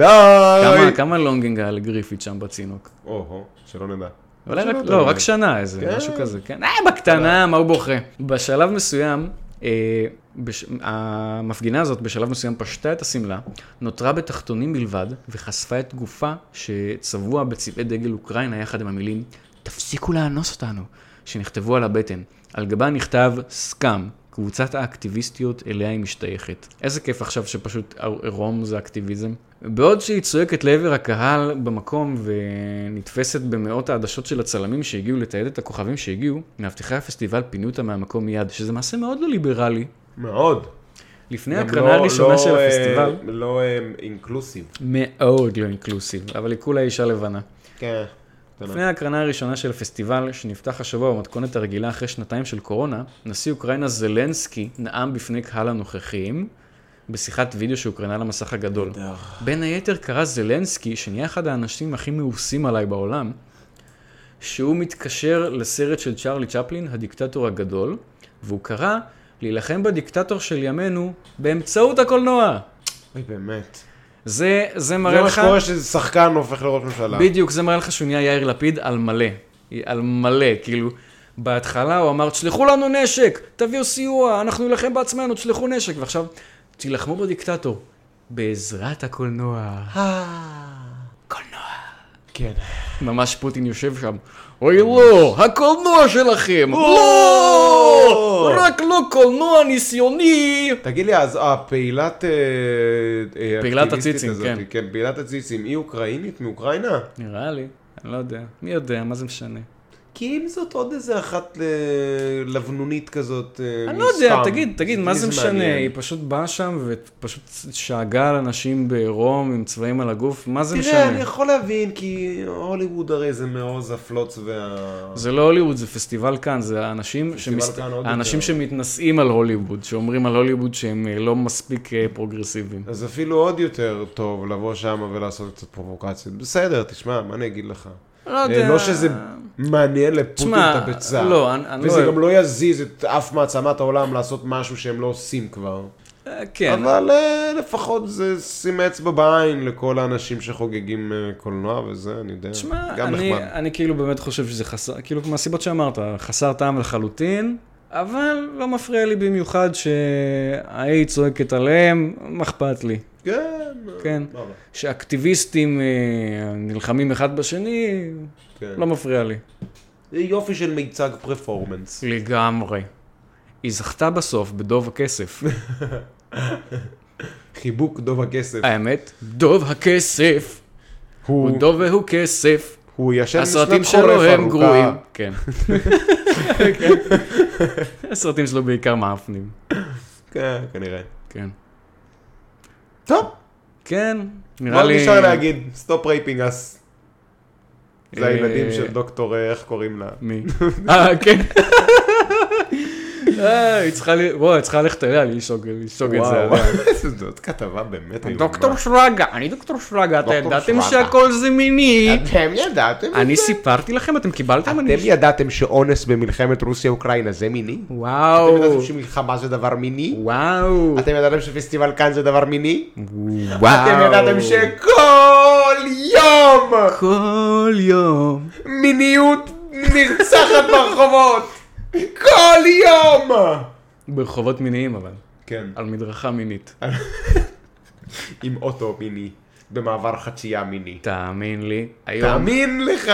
כמה, כמה לונגינג היה לגריפיט שם בצינוק?
או-הו, שלא נדע.
אולי רק,
שלא
לא,
טוב.
רק שנה איזה,
כן.
משהו כזה, כן. אה, בקטנה, מה הוא בוכה? בשלב מסוים, אה, בש... המפגינה הזאת בשלב מסוים פשטה את השמלה, נותרה בתחתונים בלבד, וחשפה את גופה שצבוע בצבעי דגל אוקראינה יחד עם המילים, תפסיקו לאנוס אותנו, שנכתבו על הבטן. על גבה נכתב סקאם. קבוצת האקטיביסטיות אליה היא משתייכת. איזה כיף עכשיו שפשוט עירום זה אקטיביזם. בעוד שהיא צועקת לעבר הקהל במקום ונתפסת במאות העדשות של הצלמים שהגיעו לתעד את הכוכבים שהגיעו, מאבטחי הפסטיבל פינו אותה מהמקום מיד, שזה מעשה מאוד לא ליברלי.
מאוד.
לפני
גם
ההקרנה
לא-
הראשונה
לא,
של
אה,
הפסטיבל,
לא אה, אינקלוסיב.
מאוד לא אינקלוסיב, אבל היא כולה אישה לבנה.
כן.
לפני ההקרנה הראשונה של הפסטיבל, שנפתח השבוע במתכונת הרגילה אחרי שנתיים של קורונה, נשיא אוקראינה זלנסקי נאם בפני קהל הנוכחים בשיחת וידאו שהוקרנה למסך הגדול. בין היתר קרא זלנסקי, שנהיה אחד האנשים הכי מאוסים עליי בעולם, שהוא מתקשר לסרט של צ'רלי צ'פלין, הדיקטטור הגדול, והוא קרא להילחם בדיקטטור של ימינו באמצעות הקולנוע.
אוי, באמת.
זה, זה
זה
מראה
מה
לך...
שקורה ששחקן הופך לראש ממשלה.
בדיוק, זה מראה לך שהוא נהיה יאיר לפיד על מלא. על מלא, כאילו, בהתחלה הוא אמר, תשלחו לנו נשק, תביאו סיוע, אנחנו נילחם בעצמנו, תשלחו נשק, ועכשיו, תילחמו בדיקטטור. בעזרת הקולנוע.
כן.
ממש פוטין יושב שם. אוי לא, הקולנוע שלכם! לא! רק לא קולנוע ניסיוני!
תגיד לי, אז הפעילת... אה, אה,
פעילת
האקטיביסטית
הציצים,
הזאת,
כן.
כן, פעילת הציצים, היא אוקראינית מאוקראינה?
נראה לי, אני לא יודע. מי יודע, מה זה משנה?
כי אם זאת עוד איזה אחת ל... לבנונית כזאת, אה,
אני לא יודע,
מסתם.
תגיד, תגיד, מה זה משנה?
מעניין.
היא פשוט באה שם ופשוט שאגה על אנשים בעירום עם צבעים על הגוף, מה זה
תראה, אני
משנה?
יכול להבין, כי הוליווד הרי זה מעוז הפלוץ וה...
זה לא הוליווד, זה פסטיבל כאן, זה האנשים, שמסת...
כאן עוד
האנשים
יותר.
שמתנשאים על הוליווד, שאומרים על הוליווד שהם אה, לא מספיק אה, פרוגרסיביים.
אז אפילו עוד יותר טוב לבוא שם ולעשות קצת פרובוקציות. בסדר, תשמע, מה אני אגיד לך?
לא
אה,
יודע.
לא שזה מעניין לפוטין
תשמע,
את הביצה.
לא, אני- אני
וזה
לא-
גם לא יזיז את אף מעצמת העולם לעשות משהו שהם לא עושים כבר.
אה, כן,
אבל אה, לפחות זה שים אצבע בעין לכל האנשים שחוגגים אה, קולנוע וזה, אני יודע,
תשמע,
גם
אני,
נחמד.
אני כאילו באמת חושב שזה חסר, כאילו מהסיבות שאמרת, חסר טעם לחלוטין, אבל לא מפריע לי במיוחד שהאי צועקת עליהם, מה אכפת לי,
כן,
כן?
מה הבעיה?
שאקטיביסטים אה, נלחמים אחד בשני,
כן.
לא מפריע לי.
זה יופי של מיצג פרפורמנס.
לגמרי. היא זכתה בסוף בדוב הכסף.
חיבוק דוב הכסף.
האמת, דוב הכסף, אה, הוא
הוא-
דוב והוא כסף,
הוא ישן
הסרטים
בשנת חורף
שלו הם
ארוכה.
גרועים. כן. הסרטים שלו בעיקר מאפנים.
כן, כנראה.
כן.
טוב,
כן, נראה
מה
לי...
נשאר להגיד? סטופ רייפינג אס. זה
אה,
הילדים של דוקטור, אה, איך קוראים לה?
מי? אה, כן. אה, היא צריכה ל... וואי, היא צריכה ללכת אליה, לשאוג לשאוג את זה. עליה.
זאת כתבה באמת איומה.
דוקטור שרגא, אני דוקטור שרגא, אתה
אתם
ידעת?
ידעתם שהכל זה מיני?
אתם ידעתם את
אני סיפרתי לכם, אתם קיבלתם? אני-
אתם ידעתם שאונס במלחמת רוסיה-אוקראינה זה מיני?
וואו.
אתם ידעתם שמלחמה זה דבר מיני?
וואו.
אתם ידעתם שפסטיבל כאן זה דבר מיני?
וואו.
אתם ידעתם שכל יום
כל יום.
מיניות נרצחת ברחובות! כל יום!
ברחובות מיניים אבל.
כן,
על מדרכה מינית.
עם אוטו מיני, במעבר חצייה מיני.
תאמין לי, היום
תאמין לך!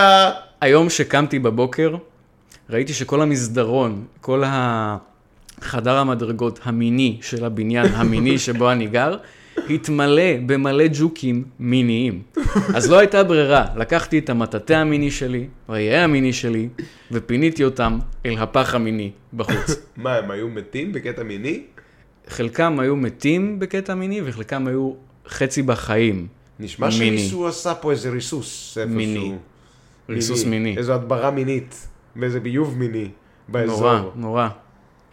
היום שקמתי בבוקר, ראיתי שכל המסדרון, כל ה... חדר המדרגות המיני של הבניין המיני שבו אני גר, התמלא במלא ג'וקים מיניים. אז לא הייתה ברירה, לקחתי את המטאטא המיני שלי, והיאה המיני שלי, ופיניתי אותם אל הפח המיני בחוץ.
מה, הם היו מתים בקטע מיני?
חלקם היו מתים בקטע מיני, וחלקם היו חצי בחיים.
נשמע
מיני.
שמישהו עשה פה איזה ריסוס איפשהו.
מיני. ריסוס מיני.
איזו הדברה מינית, ואיזה ביוב מיני באזור.
נורא, נורא.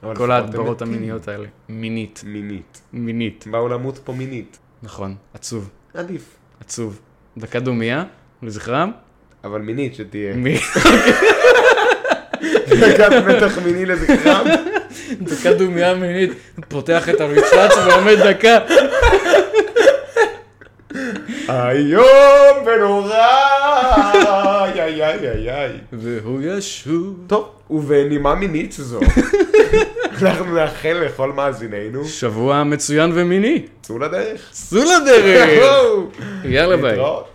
אבל
כל
לפחות הם
ההדברות
מתים
המיניות האלה. מינית.
מינית.
מינית.
באו למות פה מינית.
נכון, עצוב.
עדיף.
עצוב. דקה דומייה לזכרם?
אבל מינית שתהיה.
מי?
דקת מתח מיני לזכרם.
דקה דומייה מינית, פותח את המצלץ ועומד דקה.
איום ונורא! איי איי איי איי איי.
והוא ישוב.
טוב, ובנימה מינית זו. אנחנו נאחל לכל מאזינינו,
שבוע מצוין ומיני.
צאו לדרך.
אה. צאו לדרך! יאללה ביי.
להתראות.